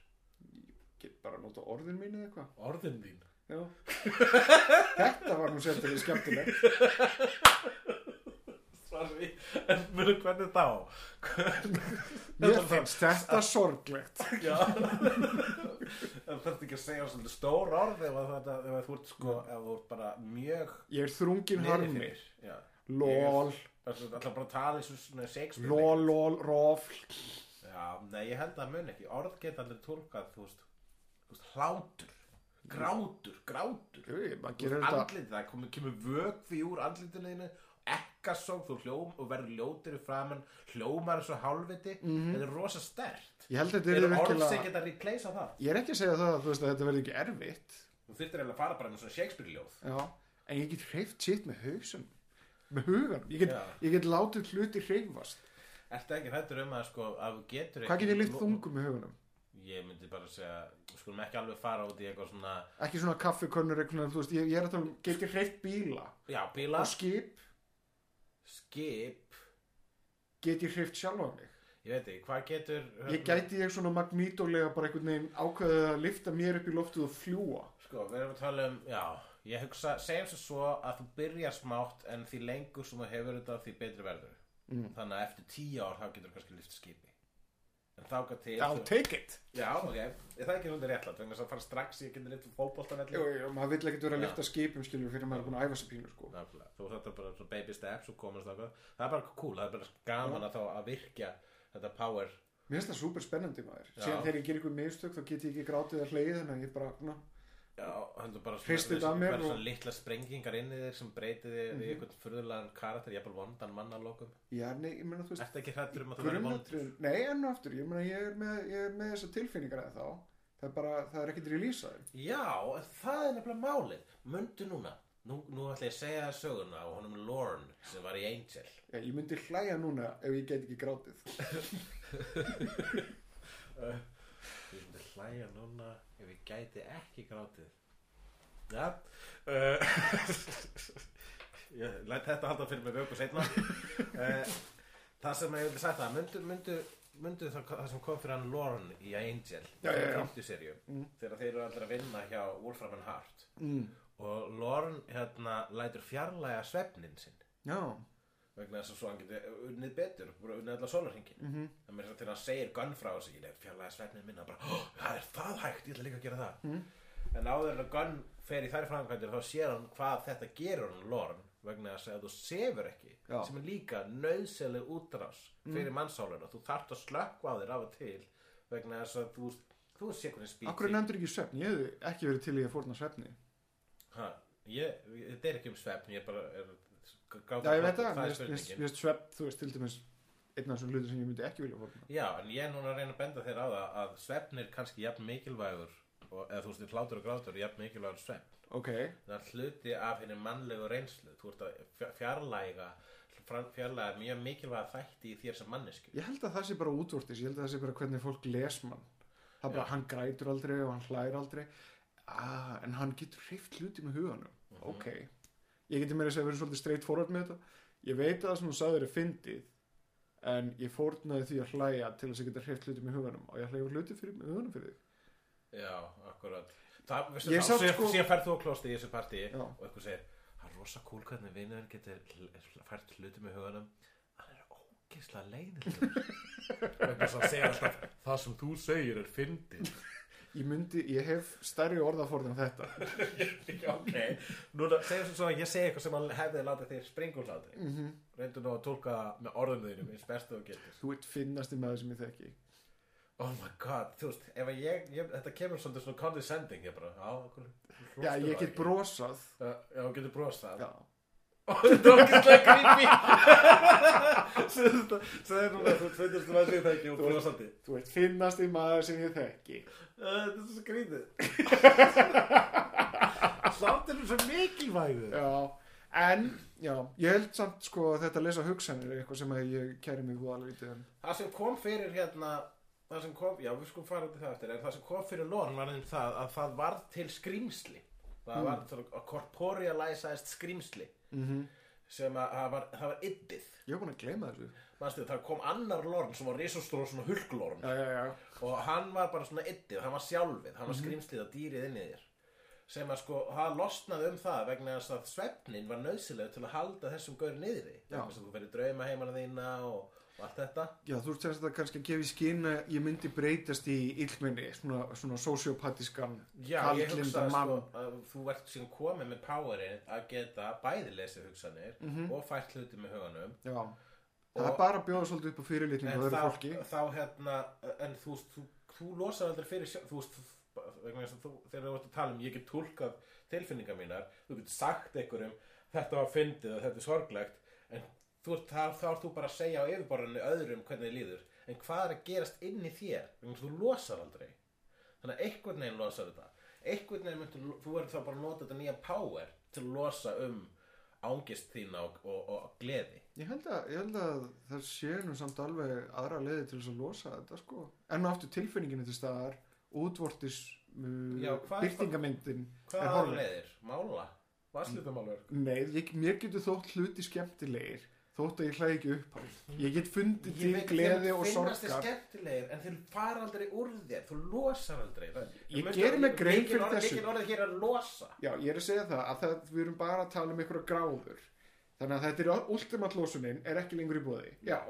Speaker 3: Get bara að nota orðin mín eða eitthvað
Speaker 4: Orðin þín
Speaker 3: Já. (laughs) Þetta var nú sérstæðið
Speaker 4: (laughs)
Speaker 3: skemmtilegt
Speaker 4: Sorry, (laughs) en mjög hvernig þá?
Speaker 3: Mér finnst þetta sorglegt
Speaker 4: (laughs) Já Það þarf ekki að segja svolítið stór orð ef, að þetta, ef að þú ert sko
Speaker 3: Mm.
Speaker 4: ef þú ert bara mjög
Speaker 3: Ég er þrungin
Speaker 4: niður
Speaker 3: harmi
Speaker 4: fyrir. Já.
Speaker 3: Lol,
Speaker 4: Það er svolítið alltaf bara að tala eins og svona Shakespeare
Speaker 3: lol, lol, rofl
Speaker 4: Já, nei, ég held að það mun ekki Orð geta allir tólkað, þú veist, þú veist hlátur, grátur, grátur
Speaker 3: Jú, ég- maður
Speaker 4: Þú
Speaker 3: gerir
Speaker 4: veist,
Speaker 3: þetta
Speaker 4: Andlitið, það komið, kemur vökvi úr andlitinu þínu ekkasók, þú hljóm og verður ljótir í framann, hljómar eins og hálfviti þetta er rosa stert
Speaker 3: Ég held að Mhm. þetta
Speaker 4: Eru
Speaker 3: er
Speaker 4: orð
Speaker 3: virkilega
Speaker 4: sem geta að replacea það?
Speaker 3: Ég er ekki að segja það að þú veist að þetta verði ekki erfitt
Speaker 4: Þú þyrftir eiginlega að fara bara með svona Shakespeare-ljóð.
Speaker 3: Já, en ég get hreift sitt með hausum Með hugan Ég get,
Speaker 4: Já.
Speaker 3: ég get látið hluti hreifast
Speaker 4: Ertu ekki hættur um að sko, að þú getur
Speaker 3: Hvað get ég lyft þungum með hugunum?
Speaker 4: Ég myndi bara segja, við skulum ekki alveg fara út í eitthvað svona,
Speaker 3: Ekki svona kaffikönnur eitthvað, þú veist, ég, ég er að tala um get ég hreift bíla
Speaker 4: já, bíla,
Speaker 3: og skip,
Speaker 4: skip,
Speaker 3: get ég hreift sjálfa mig
Speaker 4: ég veit ekki, hvað getur... hérna,
Speaker 3: Ég gæti ég svona magnítólega bara einhvern veginn ákveðið að lifta mér upp í loftið og fljúa.
Speaker 4: Sko, við erum að tala um, já, ég hugsa, segjum svo svo að þú byrjar smátt en því lengur sem þú hefur þetta því betri verður. Mm. Þannig að eftir tíu ár þá getur þú kannski lyft skipi. En þá gæti til... þú-
Speaker 3: take it.
Speaker 4: Já, ok, það er ekki svolítið réttlætt, vegna þess að fara strax í að geta lyft fótboltanelli.
Speaker 3: Jú, jú, maður vill ekkert vera að
Speaker 4: Já.
Speaker 3: lifta skipum skilur fyrir maður er búin að æfa sér pínu sko.
Speaker 4: Nákvæmlega. Þú þetta bara svona baby steps og komast þangað. Það er bara cool, það er bara gaman að þá að virkja þetta power.
Speaker 3: Mér finnst það super spennandi maður.
Speaker 4: Já.
Speaker 3: Síðan þegar ég ger ykkur mistök þá get ég ekki grátið að hleyði þannig að ég bara, na,
Speaker 4: Já, heldur bara svona,
Speaker 3: Hristið
Speaker 4: þessi-
Speaker 3: af mér
Speaker 4: bara
Speaker 3: og-
Speaker 4: svona litla sprengingar inn í þig sem breytið þig í einhvern furðulegan karakter, ég er bara vondan manna lókum.
Speaker 3: já, nei, ég meina þú veist,
Speaker 4: Ertu ekki hrættur um að þú verður vondur?
Speaker 3: grunnatrið, nei, enn og aftur, ég meina ég er með, ég er með þessa tilfinningar eða þá. Það er bara, það er ekkert releasaði.
Speaker 4: Já, en það er nefnilega málið. Mundu núna. Nú, nú ætla ég að segja það söguna á honum Lorne sem var í Angel.
Speaker 3: Já, ég myndi hlæja núna ef ég get ekki grátið.
Speaker 4: Þú myndi hlæja núna ef ég gæti ekki grátið. Já. Uh, (laughs) ég læt þetta halda fyrir mig vöku setna. Uh, það sem ég vildi sagt það, myndu, myndu, myndu það, það sem kom fyrir hann Lorne í Angel.
Speaker 3: Já, Mm. já, já.
Speaker 4: Serju, Þegar þeir eru allir að vinna hjá Wolfram and Hart. Mm. Og Lorne hérna lætur fjarlæga svefnin sinn
Speaker 3: Já,
Speaker 4: vegna þess að svo hann geti unnið betur bara unnið allar sólarhingin mm
Speaker 3: Mhm.
Speaker 4: -hmm. það meira þess að þegar hann segir gunn frá sig ég fjarlæði svefnið minna bara, oh, það er það hægt, ég ætla líka að gera það
Speaker 3: Mhm.
Speaker 4: mm -hmm. en áður en að gunn fer í þær framkvæmdir þá sér hann hvað þetta gerur hann lorn vegna þess að þú sefur ekki
Speaker 3: Já. Mhm.
Speaker 4: sem er líka nöðselig útrás fyrir mm. mannsálinu þú þarft að slökkva á þér af og til vegna þess að þú þú sé hvernig spýti
Speaker 3: akkur nefndur ekki svefn, ég hefði ekki verið til í að fórna svefni.
Speaker 4: ha, ég, þetta er ekki um svefn ég bara er,
Speaker 3: Já, ég veit það,
Speaker 4: það
Speaker 3: mér
Speaker 4: er
Speaker 3: finnst-
Speaker 4: spurningin
Speaker 3: mér finnst- mér finnst svepp, þú veist, til dæmis einn af þessum hlutum sem ég myndi ekki vilja fórna.
Speaker 4: Já, en ég er núna að reyna að benda þér á það að svefn er kannski jafn mikilvægur og, eða þú veist, þið hlátur og grátur er jafn mikilvægur svefn
Speaker 3: Ok,
Speaker 4: það er hluti af henni mannlegu reynslu þú ert að fja- fjarlæga fran- fjarlæga mjög mikilvæga þætti í þér sem mannesku
Speaker 3: ég held að það sé bara útvortis, ég held að það sé bara hvernig fólk les mann. Það er bara, hann grætur aldrei og hann hlær aldrei, ah, en hann getur hreift hluti með huganum. Ok, ég geti meira að segja verið svolítið straight forward með þetta. Ég veit að það sem hún sagði er fyndið, en ég fórnaði því að hlæja til þess að geta hreift hluti með huganum og ég hlæja hluti fyrir, með huganum fyrir þig.
Speaker 4: Já, akkurat Það, veistu,
Speaker 3: Ég
Speaker 4: þá,
Speaker 3: samt
Speaker 4: síðan,
Speaker 3: sko-
Speaker 4: síðan ferð þú á klostið í þessu partí
Speaker 3: Já.
Speaker 4: og eitthvað segir, það er rosa kúl hvernig vinurinn getur hl- hl- fært hluti með huganum hann er ógeðslega leiðilegur (laughs) vegna þess að hann segir alltaf það sem þú segir er fyndið
Speaker 3: Ég myndi, ég hef stærri orðaforðin en þetta.
Speaker 4: (laughs) Já, ok, núna segjum sem svo að ég segi eitthvað sem hann hefði látið þér springur hlátri mm -hmm. reyndu nú að tólka það með orðum þínum eins best þú getur
Speaker 3: Þú ert finnasti maður sem ég þekki.
Speaker 4: oh my god, þú veist, ef að ég, ég þetta kemur svolítið svona condescending ég bara, já, okkur
Speaker 3: Já, ég get brosað
Speaker 4: já, þú getur brosað
Speaker 3: Já,
Speaker 4: og (laughs) þetta er okkar (laughs) creepy segði núna þú tveitist um aðsíðu tæki og brosandi
Speaker 3: Þú ert finnasti maður sem ég þekki.
Speaker 4: þetta er svo (laughs) skrítið samt er þetta svo mikilvægur
Speaker 3: Já, en, já, ég held samt sko að þetta að lesa hugsanir er eitthvað sem að ég kæri mig húða alveg lítið um.
Speaker 4: það sem kom fyrir hérna það sem kom, já við skulum fara út í það eftir en það sem kom fyrir lorn var einnig það að það var til skrýmsli það mm. var til að korporealizaðist skrýmsli
Speaker 3: Mhm.
Speaker 4: sem að það var, það var yddið
Speaker 3: Ég er búin að gleyma þessu.
Speaker 4: Manstu, það kom annar lorn sem var risastór svona hulklorn
Speaker 3: Já, já, já.
Speaker 4: og hann var bara svona yddið, hann var sjálfið
Speaker 3: Mhm.
Speaker 4: hann var skrýmslið að dýrið inn í þér sem að sko, það losnaði um það vegna þess að svefnin var nöðsileg til að halda þessum gaur niðri
Speaker 3: Já.
Speaker 4: vegna þess að þú verið drauma heimana þína og, og allt þetta
Speaker 3: Já, þú ert semst að kannski að gefa í skinn að ég myndi breytast í illminni, svona, svona sociopatískan,
Speaker 4: Já, ég
Speaker 3: kaldlindan
Speaker 4: hugsaði
Speaker 3: mann.
Speaker 4: sko að þú ert síðan komið með powerin að geta bæði lesið hugsanir og fært hluti með huganum
Speaker 3: Já, það er
Speaker 4: Og-
Speaker 3: bara að bjóða svolítið upp á fyrirlitningu
Speaker 4: en
Speaker 3: og öðru
Speaker 4: þá,
Speaker 3: fólki.
Speaker 4: þá hérna en þú, veist, þú, þú losar aldrei fyrir sjálf- þú veist vegna þess að þú, þegar þú ert að tala um ég get tólkað tilfinningar mínar þú getur sagt einhverjum þetta var fyndið og þetta er sorglegt en þú, ert- þá, þá ert þú bara að segja á yfirborðinu öðrum hvernig þið líður en hvað er að gerast inn í þér vegna þess að þú losar aldrei þannig að einhvern veginn losar þetta einhvern veginn myndir, þú verður þá bara að nota þetta nýja power til að losa um ángist þína og, og, og gleði
Speaker 3: Ég held, að, ég held að það sé nú samt alveg aðra leiði til þess að losa þetta sko. En aftur tilfinninginni til staðar, útvortis,
Speaker 4: Já,
Speaker 3: uh,
Speaker 4: hvað-
Speaker 3: byrtingamyndin
Speaker 4: Hvað aðra leiðir? Mála? Vasslítamálverk?
Speaker 3: Nei, ég, mér getur þótt hluti skemmtilegir þótt að ég hlæði ekki upp á því. Ég get fundið til gleði og
Speaker 4: Finnast þið
Speaker 3: sorgar.
Speaker 4: skemmtilegir en þeir fara aldrei úr þér, þú losar aldrei það,
Speaker 3: Ég geri mér grein fyrir þessu.
Speaker 4: Mikið orðið hér er að losa
Speaker 3: Já, ég er að segja það að það, við erum bara að tala um einhverja gráður. Þannig að þetta er ultimatlósunin er ekki lengur í bóði. Já,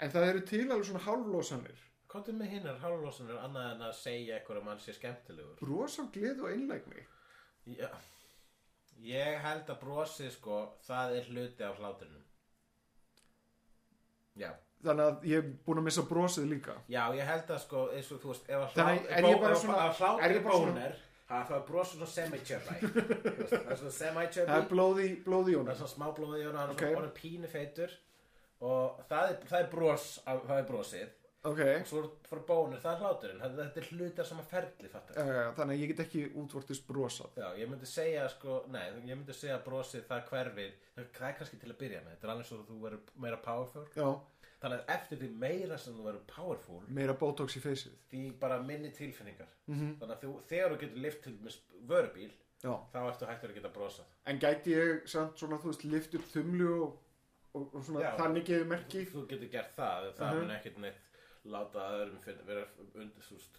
Speaker 3: en það eru til alveg svona hálflósanir.
Speaker 4: Komdu með hinnar hálflosanir annað en að segja eitthvað um hann sé skemmtilegur
Speaker 3: Bros af gleði og einlægni.
Speaker 4: Já. Ég held að brosið sko, það er hluti af hlátunum Já
Speaker 3: Þannig að ég er búin að missa brosið líka.
Speaker 4: Já, ég held að sko, eins og þú veist, ef að
Speaker 3: Þannig, er ég bara svona- er
Speaker 4: hlátur
Speaker 3: ég bara svona-
Speaker 4: bónir, það er brosið svona
Speaker 3: (laughs)
Speaker 4: semi-chubby Þú veist, Það er svona semi-chubby
Speaker 3: Það er blóði, blóði í
Speaker 4: það er
Speaker 3: honum.
Speaker 4: svona smá blóði í honum, hann er
Speaker 3: Ok.
Speaker 4: svona orðin pínu feitur og það er, það er bros af- það er brosið
Speaker 3: Ok, eh,
Speaker 4: og svo fyrir bónur, það er hláturinn það- þetta er hlutar sama ferli fattar
Speaker 3: uh, þannig að ég get ekki útvortis brosað.
Speaker 4: Já, ég myndi segja sko, nei, ég myndi segja að brosið það hverfið, það það er kannski til að byrja með, þetta er alveg svo að þú verður meira powerful,
Speaker 3: Já,
Speaker 4: þannig að eftir því meira sem þú verður powerful,
Speaker 3: meira botox í feysið.
Speaker 4: því bara minni tilfinningar, -hmm.
Speaker 3: Mhm.
Speaker 4: þannig að þú, þegar þú getur lift til með vörubíl,
Speaker 3: Já.
Speaker 4: þá ertu hættur að geta brosað.
Speaker 3: En gæti ég samt svona, þú veist, lift upp þumlu og, og, og svona
Speaker 4: Já.
Speaker 3: þannig gefið merki?
Speaker 4: Þú getur gert það, en
Speaker 3: Mhm.
Speaker 4: það mun ekkert neitt láta öðrum finna, vera undir, þú veist,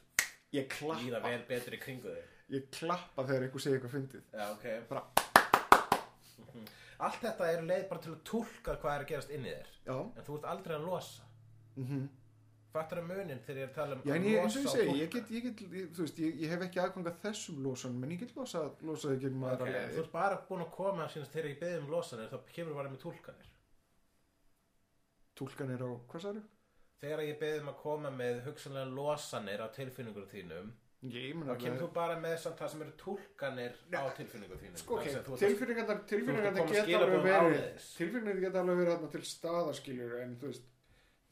Speaker 3: Ég
Speaker 4: líða
Speaker 3: klappa,
Speaker 4: vel betur í kringu þig
Speaker 3: ég klappa þegar einhver segir eitthvað fyndið.
Speaker 4: Já, ok
Speaker 3: Bara-
Speaker 4: Mhm. Allt þetta er leið bara til að tólka hvað er að gerast inn í þér
Speaker 3: Já,
Speaker 4: En þú ert aldrei að losa Fattar að munin þegar ég er að tala um
Speaker 3: Mhm. já
Speaker 4: að
Speaker 3: en ég, eins
Speaker 4: losa
Speaker 3: og ég
Speaker 4: og
Speaker 3: segi, ég
Speaker 4: túlka?
Speaker 3: get, ég get, ég, þú veist, ég, ég hef ekki aðgang að þessum losunum, en ég get losað, losað ekki um aðra
Speaker 4: Ok,
Speaker 3: okay,
Speaker 4: en Þú ert bara búin að koma sínast þegar ég beðið um losanir þá kemur bara með tólkanir
Speaker 3: Túlkanir á, hvað særu?
Speaker 4: Þegar ég beðið um að koma með hugsanlega losanir á tilfinningur þínum
Speaker 3: Ég
Speaker 4: þá
Speaker 3: meina
Speaker 4: kemur þú
Speaker 3: alveg-
Speaker 4: bara með samt það sem eru tólkanir á tilfinningur þínum
Speaker 3: Sko,
Speaker 4: Þannig að þú ert
Speaker 3: ok,
Speaker 4: að-
Speaker 3: tilfinningarnar,
Speaker 4: koma
Speaker 3: tilfinningarnar geta
Speaker 4: skilaboðum
Speaker 3: alveg verið,
Speaker 4: áleiðis.
Speaker 3: tilfinningarnar geta alveg verið þarna til staðarskiljur, en þú veist,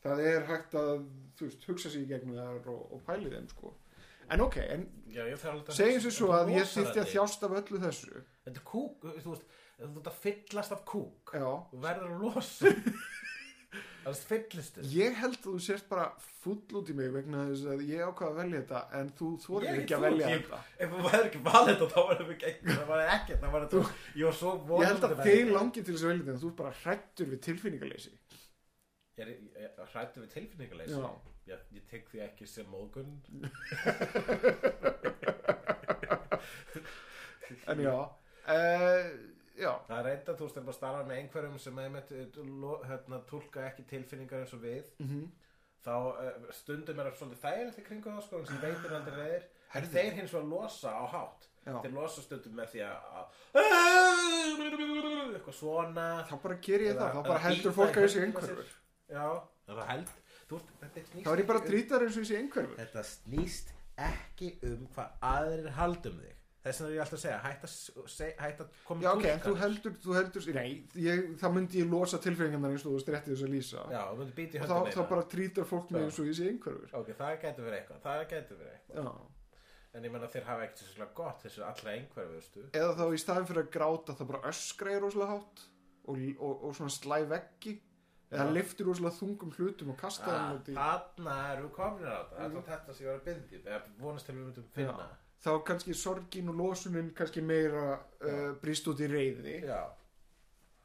Speaker 3: það er hægt að, þú veist, hugsa sér í gegnum þar og, og pæli þeim, sko. En ok, en
Speaker 4: Já, ég þarf alltaf að
Speaker 3: segjum
Speaker 4: hugsa-
Speaker 3: sér svo
Speaker 4: Þú
Speaker 3: að ég
Speaker 4: losar
Speaker 3: þýtti að
Speaker 4: þig.
Speaker 3: þjást af öllu þessu
Speaker 4: Þetta er kúk, þú veist, þú veist að fyllast af kúk
Speaker 3: já.
Speaker 4: Þú verður að losa Það er fyllistu
Speaker 3: ég held að þú sért bara full út í mig vegna þess að ég ákvað að velja þetta en þú þorir ekki að velja þetta
Speaker 4: Ef þú verður ekki valið þetta þá verður við ekki Það var ekki, það var þetta Ég var svo vonandi
Speaker 3: ég held að
Speaker 4: verður
Speaker 3: þið
Speaker 4: ekki.
Speaker 3: langið til þess að velja þetta en þú ert bara hrættur við tilfinningaleysi
Speaker 4: Ég er- ég er hrættu við tilfinningaleysi
Speaker 3: já,
Speaker 4: ég, ég tek því ekki sem móðgun
Speaker 3: en já uh, já,
Speaker 4: Það er reynda, þú veist, er bara að starfa með einhverjum sem einmitt eh, lo- hérna, tólka ekki tilfinningar eins og við
Speaker 3: Mhm.
Speaker 4: Þá eh, stundum er það svolítið þægilegt í kringu það sko, en sem veitir aldrei reyðir En
Speaker 3: Herðu.
Speaker 4: þeir hins vegar losa á hátt
Speaker 3: Já.
Speaker 4: Þeir losa stundum með því að að- eitthvað svona
Speaker 3: þá bara ger ég það þá bara heldur fólk að þessi einhverfur
Speaker 4: Já, það held þú veist, þetta
Speaker 3: þá er ég bara að
Speaker 4: snýst ekki um-
Speaker 3: trýta þar eins og þessi einhverfur
Speaker 4: Þetta snýst ekki um hvað aðrir haldum þig þess vegna er ég alltaf að segja hætt að, s- se, hætt að koma
Speaker 3: Já,
Speaker 4: með
Speaker 3: ok, en þú
Speaker 4: túlkanir.
Speaker 3: heldur, þú heldur, nei, ég, þá myndi ég losa tilfengarnar eins og þú strætti þess að lýsa.
Speaker 4: já, þú myndir býti í
Speaker 3: og
Speaker 4: höndum
Speaker 3: þá, þá bara trítar fólk
Speaker 4: Já.
Speaker 3: með eins og ég sé einhverfur.
Speaker 4: ok, það getur verið eitthvað, það getur verið eitthvað
Speaker 3: Já.
Speaker 4: en ég menna þeir hafa ekkert sérstaklega gott þessu allra einhverju, veistu
Speaker 3: Eða þá í staðin fyrir að gráta þá bara öskra ég rosalega hátt og, og, og svona slæ veggi
Speaker 4: Já.
Speaker 3: eða
Speaker 4: Ah,
Speaker 3: liftir rosalega þungum hlutum og kasta þeim út í. Mhm.
Speaker 4: Þarna erum við komin á þetta Þetta er þetta sem ég var að byggja Eða vonast til við myndum finna
Speaker 3: Þá kannski sorgin og losunin kannski meira uh, brýst út í reyði.
Speaker 4: Já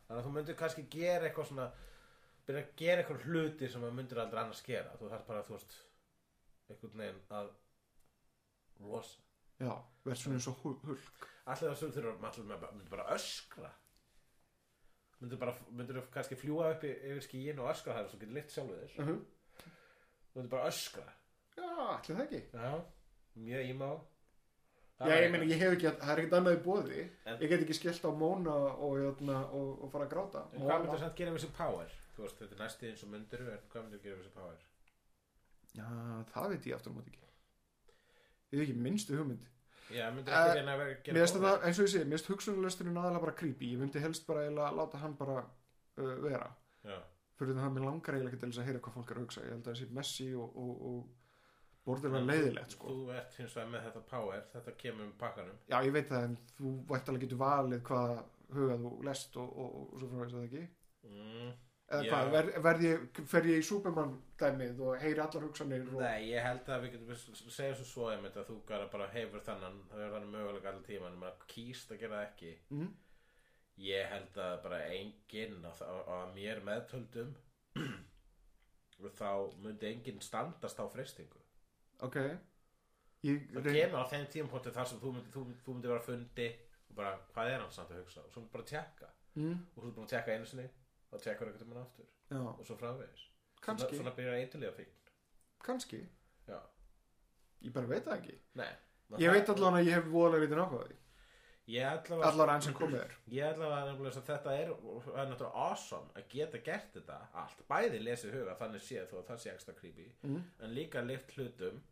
Speaker 4: Þannig að þú myndir kannski gera eitthvað svona Byrja að gera eitthvað hluti sem þú myndir aldrei annars gera Þú þarf bara að þú veist Einhvern veginn að Losa
Speaker 3: Já, verð svona eins og hu- hulk.
Speaker 4: Allir það sem þurfum allir með bara, myndir bara öskra Myndir bara, myndir kannski fljúga upp í, yfir skíin og öskra þar Svo getur lyft sjálfu þér
Speaker 3: Uh
Speaker 4: Myndir bara öskra
Speaker 3: Já, allir það ekki.
Speaker 4: Já, mjög ímá
Speaker 3: Já, ég meina, ég hef ekki, það er ekkert annað í bóði.
Speaker 4: En-
Speaker 3: Ég get ekki skellt á Móna og, hérna, og, og fara að gráta.
Speaker 4: En hvað myndir samt gera við þessu power? Þú veist, þetta er næstu eins og myndir en hvað myndir gera við þessu power?
Speaker 3: Já, það veit ég aftur á móti ekki. Ég hef ekki minnstu hugmynd.
Speaker 4: Já, myndir
Speaker 3: Eh,
Speaker 4: ekki reyna að vera
Speaker 3: Mér
Speaker 4: gera
Speaker 3: finnst þetta, eins og ég sé, mér finnst hugsunarlesturinn aðalega bara creepy. Ég myndi helst bara eiginlega láta hann bara uh, vera.
Speaker 4: Já,
Speaker 3: Fyrir það að mér langar eiginlega ekki til þess að heyra hvað fólk er að hugsa. Ég held að þessi messi og, og, og borðurlega leiðilegt, sko.
Speaker 4: Þú ert hins vegar með þetta power þetta kemur með pakkanum
Speaker 3: Já, ég veit það, en þú vært alveg getur valið hvað huga þú lest og, og, og, og svo frá þess að það ekki.
Speaker 4: mm.
Speaker 3: Eða
Speaker 4: Já.
Speaker 3: hvað, ver, verð ég, fer ég í Superman dæmið og heyri allar hugsanir og...
Speaker 4: Nei, ég held að við getum s- segja svo svo einmitt að þú gara bara hefur þannan það er þannig möguleika allir tíman maður kýst að gera það ekki
Speaker 3: Mhm.
Speaker 4: Ég held að bara enginn á, á, á mér meðtöldum (clears throat) þá myndi enginn standast á freystingu
Speaker 3: Ok. Ég,
Speaker 4: það
Speaker 3: reyn-
Speaker 4: kemur á þeim tímapunkti þar sem þú myndi, þú, þú myndi vera á fundi og bara hvað er hann samt að hugsa og svo bara tjekka
Speaker 3: mm,
Speaker 4: og svo bara tjekka einu sinni og tjekka einhvern tímann aftur
Speaker 3: já,
Speaker 4: og svo framvegis
Speaker 3: Kannski.
Speaker 4: svona, svona byrjar eitthulega fíkn
Speaker 3: kannski.
Speaker 4: já,
Speaker 3: Ég bara veit það ekki.
Speaker 4: nei
Speaker 3: Ég veit allan að ég hef voðalega lítið nákvæða því.
Speaker 4: ég allavega,
Speaker 3: Allar enn sem komið er.
Speaker 4: ég allavega nefnilega þess að þetta er, það er náttúrulega awesome að geta gert þetta allt bæði lesið huga þannig séð þó að það sé ekstra creepy
Speaker 3: Mm.
Speaker 4: en líka lyft hlutum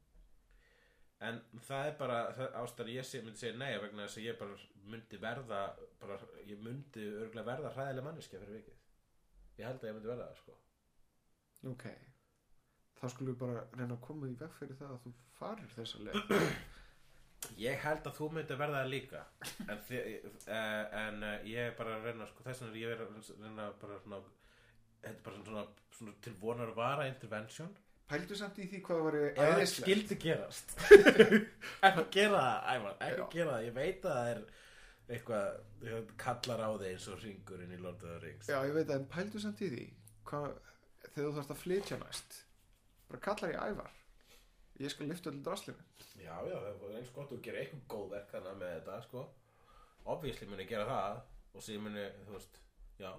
Speaker 4: en það er bara það- ástæður ég sé, myndi segja nei vegna þess að ég bara myndi verða bara, ég myndi örgulega verða hræðileg manneskja fyrir vikið ég held að ég myndi verða það sko
Speaker 3: Ok. Þá skulum við bara reyna að koma því veg fyrir það að þú farir þessa leið.
Speaker 4: ég held að þú myndi verða það líka en, þi, uh, en uh, ég er bara að reyna sko, þess vegna er ég er að reyna bara svona þetta er bara svona, svona til vonar vara intervention
Speaker 3: Pældu samt í því hvað var ég
Speaker 4: Ef það
Speaker 3: eðislega.
Speaker 4: skildi (laughs) gerast ekki gera það, Ævar, ekki gera það ég veit að það er eitthvað ég kallar á þig eins og ringurinn í Lord of the Rings
Speaker 3: Já, ég veit það, en pældu samt í því hvað, þegar þú þarfst að flytja næst. Bara kallar ég ævar. Ég skal lifta öllu draslinu.
Speaker 4: já, já, það er eins gott að gera eitthvað góð verkana með þetta, sko obviously muni gera það og síðan muni, þú veist, já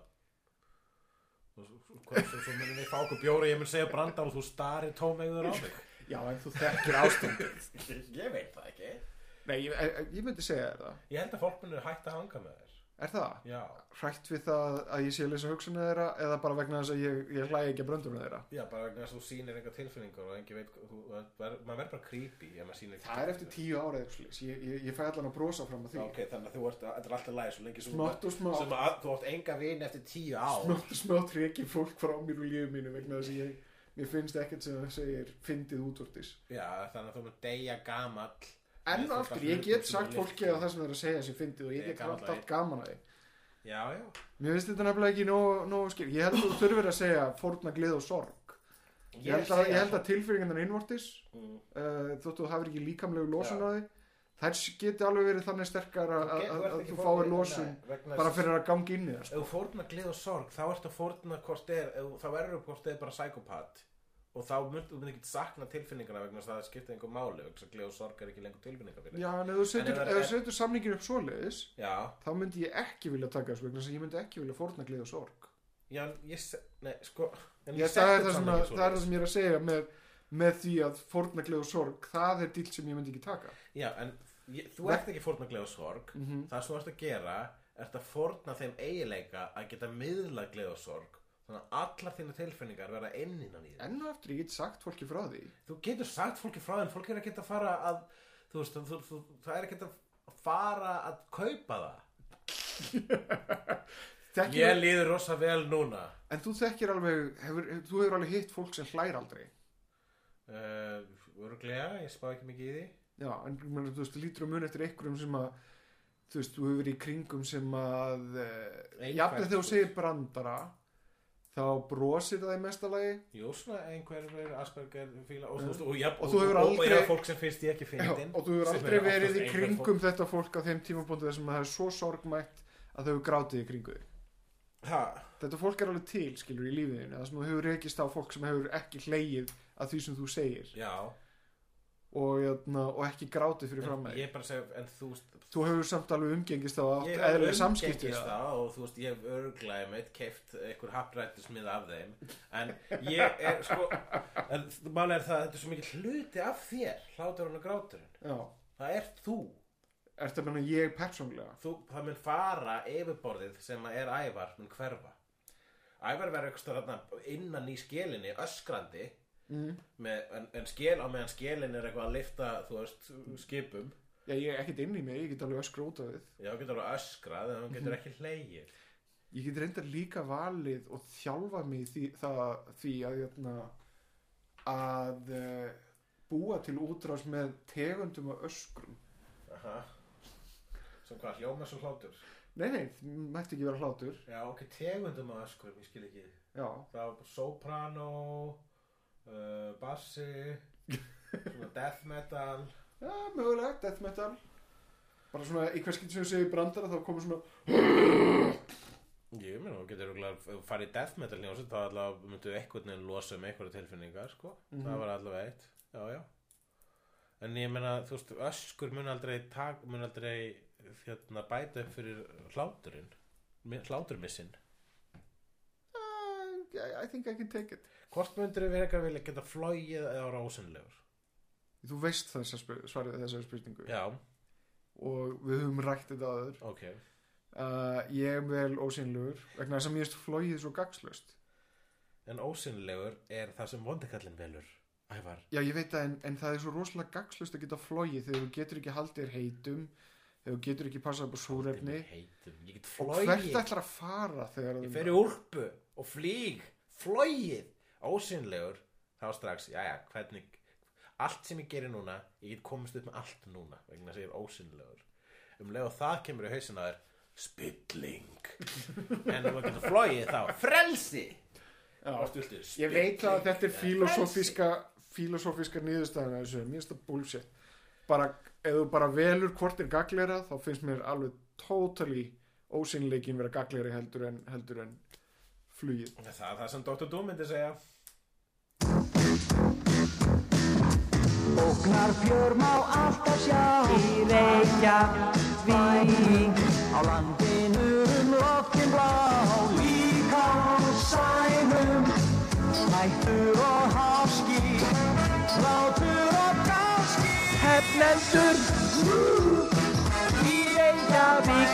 Speaker 4: og svo, svo, hvað- svo, svo muni við fá okkur bjóra ég mun segja brandar og þú starir tómegður á mig
Speaker 3: Já, en þú þekkir ástandið.
Speaker 4: (laughs) ég veit það ekki
Speaker 3: (laughs) Nei, ég, ég- ég myndi segja þér það.
Speaker 4: ég held að fólk muni hætta að hanga með þér
Speaker 3: Er það?
Speaker 4: já,
Speaker 3: hrætt við það að ég sé að lesa hugsunni þeirra eða bara vegna þess að ég, ég hlæði ekki að bröndum þeirra
Speaker 4: Já, bara vegna þess að þú sýnir enga tilfinningar og engi veit, þú, ver, maður verður bara creepy ef maður sýnir
Speaker 3: það er eftir tíu ára eða slíks ég, ég, ég fæ allan að brosa fram að því
Speaker 4: Ok, þannig að þú ert, þetta er alltaf læg svo lengi sem
Speaker 3: Smátt og smátt.
Speaker 4: Sem að þú átt enga vin eftir tíu ár
Speaker 3: smátt smá treki fólk frá mér úr lífið mínu vegna þess að ég mér finnst ekkert sem það segir fyndið útvortis
Speaker 4: Já, þannig að þú mun deyja gamall
Speaker 3: en
Speaker 4: Með fullt
Speaker 3: aftur,
Speaker 4: af
Speaker 3: ég get
Speaker 4: hlutum sem
Speaker 3: sagt
Speaker 4: þú
Speaker 3: fólki
Speaker 4: lyftir.
Speaker 3: að það sem það er að segja sem fyndið og
Speaker 4: um sko. Ég
Speaker 3: ég get
Speaker 4: gamall
Speaker 3: alltaf
Speaker 4: að-
Speaker 3: gaman að því
Speaker 4: Já, já
Speaker 3: mér finnst þetta nefnilega ekki nóg, nóg skil ég held að þú þurfir að segja fórna glið og sorg ég, held að, ég held að tilfyringarnar innvortis
Speaker 4: Mm.
Speaker 3: uh, þóttu þú hafir ekki líkamlegu lósun
Speaker 4: Já.
Speaker 3: á því þær geti alveg verið þannig sterkar að,
Speaker 4: Ok,
Speaker 3: að, að,
Speaker 4: ert
Speaker 3: að
Speaker 4: ekki
Speaker 3: þú
Speaker 4: fórn-
Speaker 3: fáir lósun
Speaker 4: Nei, vegna
Speaker 3: bara
Speaker 4: þess-
Speaker 3: fyrir að ganga inn í það
Speaker 4: Ef
Speaker 3: sko.
Speaker 4: þú fórna glið og sorg, þá ertu að fórna hvort er, ef- þá ertu hvort er bara psykopat og þá mun, þú mun ekki sakna tilfinningarna vegna þess að það skipta einhver máli vegna þess að glið og sorg er ekki lengur tilfinningar fyrir
Speaker 3: já, en ef þú
Speaker 4: En
Speaker 3: setur,
Speaker 4: ef það
Speaker 3: ef þú
Speaker 4: er-
Speaker 3: setur samningin upp svoleiðis
Speaker 4: já
Speaker 3: þá myndi ég ekki vilja taka þessu vegna þess að ég myndi ekki vilja fórna glið og sorg
Speaker 4: Já, en ég, se- nei, sko en
Speaker 3: ég,
Speaker 4: setti
Speaker 3: það, er það, sem
Speaker 4: samt
Speaker 3: að,
Speaker 4: ekki
Speaker 3: það er
Speaker 4: svoleiðis.
Speaker 3: það sem ég er að segja með, með því að fórna glið og sorg það er dill sem ég myndi ekki taka
Speaker 4: Já, en ég, þú ert ekki fórnaglega sorg mm -hmm. Það sem þú ert að gera ert að fórna þeim eigileika að geta miðla gleða og sorg þannig að allar þínu tilfinningar verða inn innan í þér
Speaker 3: enn og aftur ég get sagt fólki frá því
Speaker 4: Þú getur sagt fólki frá þeim, fólk er að geta fara að þú veist, þú, þú, það er að geta fara að kaupa það
Speaker 3: Þekkir,
Speaker 4: Ég líður rosa vel núna
Speaker 3: En þú þekkir alveg, hefur, þú hefur alveg hitt fólk sem hlær aldrei.
Speaker 4: uh, Örglega, ég spá ekki mikið í því
Speaker 3: Já, en man, þú veist, lítur um mun eftir einhverjum sem að, þú veist, þú hefur verið í kringum sem að, uh,
Speaker 4: Einhvern,
Speaker 3: jafnir þegar þú
Speaker 4: sko.
Speaker 3: segir brandara, þá brosir það í mesta lagi.
Speaker 4: Jú, svona einhverjur Asperger fíla og, og, og, og,
Speaker 3: Mm. Og þú hefur
Speaker 4: og,
Speaker 3: aldrei-
Speaker 4: og, og fólk sem finnst ég ekki
Speaker 3: Já,
Speaker 4: fyndin
Speaker 3: og þú hefur
Speaker 4: sem
Speaker 3: aldrei
Speaker 4: eru
Speaker 3: verið
Speaker 4: oftast
Speaker 3: í
Speaker 4: einhver
Speaker 3: kringum
Speaker 4: fólk-
Speaker 3: þetta fólk á þeim tímabóndi þar sem það er svo sorgmætt að þau hefur grátið í kringu þig.
Speaker 4: Ha,
Speaker 3: Þetta fólk er alveg til, skilur, í lífiðinu, það sem þú hefur rekist á fólk sem hefur ekki hlegið að því sem þú segir
Speaker 4: Já,
Speaker 3: og, jötna, og ekki grátið fyrir fram
Speaker 4: en
Speaker 3: að
Speaker 4: ég er bara að segja en þú veist,
Speaker 3: Þú hefur samt alveg umgengist á
Speaker 4: ég
Speaker 3: átt
Speaker 4: hef
Speaker 3: eðlileg
Speaker 4: umgengist
Speaker 3: samskipti sko. við það.
Speaker 4: það og þú veist, ég hef örglega meitt keift einhver haprættismið af þeim en ég er sko en málega er það að þetta er svo mikið hluti af þér hláturinn og gráturinn
Speaker 3: Já,
Speaker 4: það er þú,
Speaker 3: ertu að menna ég persónlega?
Speaker 4: þú það mun fara yfirborðið sem að er ævar mun hverfa ævar verður eitthvað innan í skelinni öskrandi
Speaker 3: Mm.
Speaker 4: með, en, en skil á meðan skilin er eitthvað að lifta þú veist, skipum
Speaker 3: Já, ég er ekkert inn í mig, ég get alveg öskra út af þið.
Speaker 4: já, hún getur alveg öskrað en hún getur ekki hlegið
Speaker 3: Ég get reyndar líka valið og þjálfa mig því, það, því að, jötna, að eh, búa til útrás með tegundum og öskrum.
Speaker 4: Aha. sem hvað hljóma svo hlátur
Speaker 3: Nei, nei, það mætti ekki vera hlátur.
Speaker 4: já, ok, tegundum að öskrum, ég skil ekki
Speaker 3: Já,
Speaker 4: það var bara soprano uh, (laughs) bassi svona death metal
Speaker 3: ja, mögulega, death metal. Bara svona, í hvers getur sem ég segi brandara þá komur svona,
Speaker 4: ég meina, hún getur örugglega- ef þú farið í death metal hljómsveit þá allavega myndu einhvern veginn losa um einhverja tilfinningar sko, það var allavega eitt já, já en ég meina, þú veist, öskur mun aldrei tak, mun aldrei hérna, bæta upp fyrir hláturinn mi- hláturmissinn
Speaker 3: "Ah, I think I can take it.
Speaker 4: hvort myndur við eitthvað vilja geta flóið eða ára ósynlegur
Speaker 3: Þú veist þess að svarið þessari spurningu.
Speaker 4: já,
Speaker 3: Og við höfum rækt þetta aður.
Speaker 4: ok
Speaker 3: Uh, ég er vel ósynlugur vegna þess að mér erst flóið svo gagslöst
Speaker 4: en ósynlegur er það sem vondikallin velur ævar
Speaker 3: já ég veit það en, en það er svo rosalega gagslöst að geta flóið þegar þú getur ekki haldið þér heitum þegar þú getur ekki passað upp á súrefni
Speaker 4: Ég heitum, ég get
Speaker 3: og hvert
Speaker 4: flóið
Speaker 3: ætlar að fara þegar
Speaker 4: Ég
Speaker 3: þú-
Speaker 4: fer í úlpu og flýg, flóið, ósynlegur, þá strax, jæja, hvernig, allt sem ég gerir núna, ég get komist upp með allt núna, vegna þess að ég er ósynlegur. Um leið og það kemur í hausinn að þér, spilling. (laughs) en ef maður getur flóið þá, frelsi.
Speaker 3: Já.
Speaker 4: Hvort viltu,
Speaker 3: ég veit það
Speaker 4: spilling
Speaker 3: að þetta er
Speaker 4: eða
Speaker 3: filosófiska filosófiska nýðustæðan þessu, mér erst það bullshit bara, ef þú bara velur hvort er gaglera þá finnst mér alveg totally ósynleikin vera gagleri heldur en, heldur en flugið
Speaker 4: frelsi. Það er það sem Dr. Doom myndi segja.
Speaker 7: Ógnar björn má alltaf sjá Í Reykjavík Á landinu um loftin blá Líka á sænum Hættur og háski Látur og gáski Hefnendur Í Reykjavík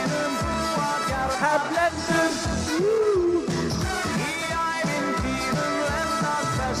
Speaker 7: Hefnendur Í ævintýrum lendar þess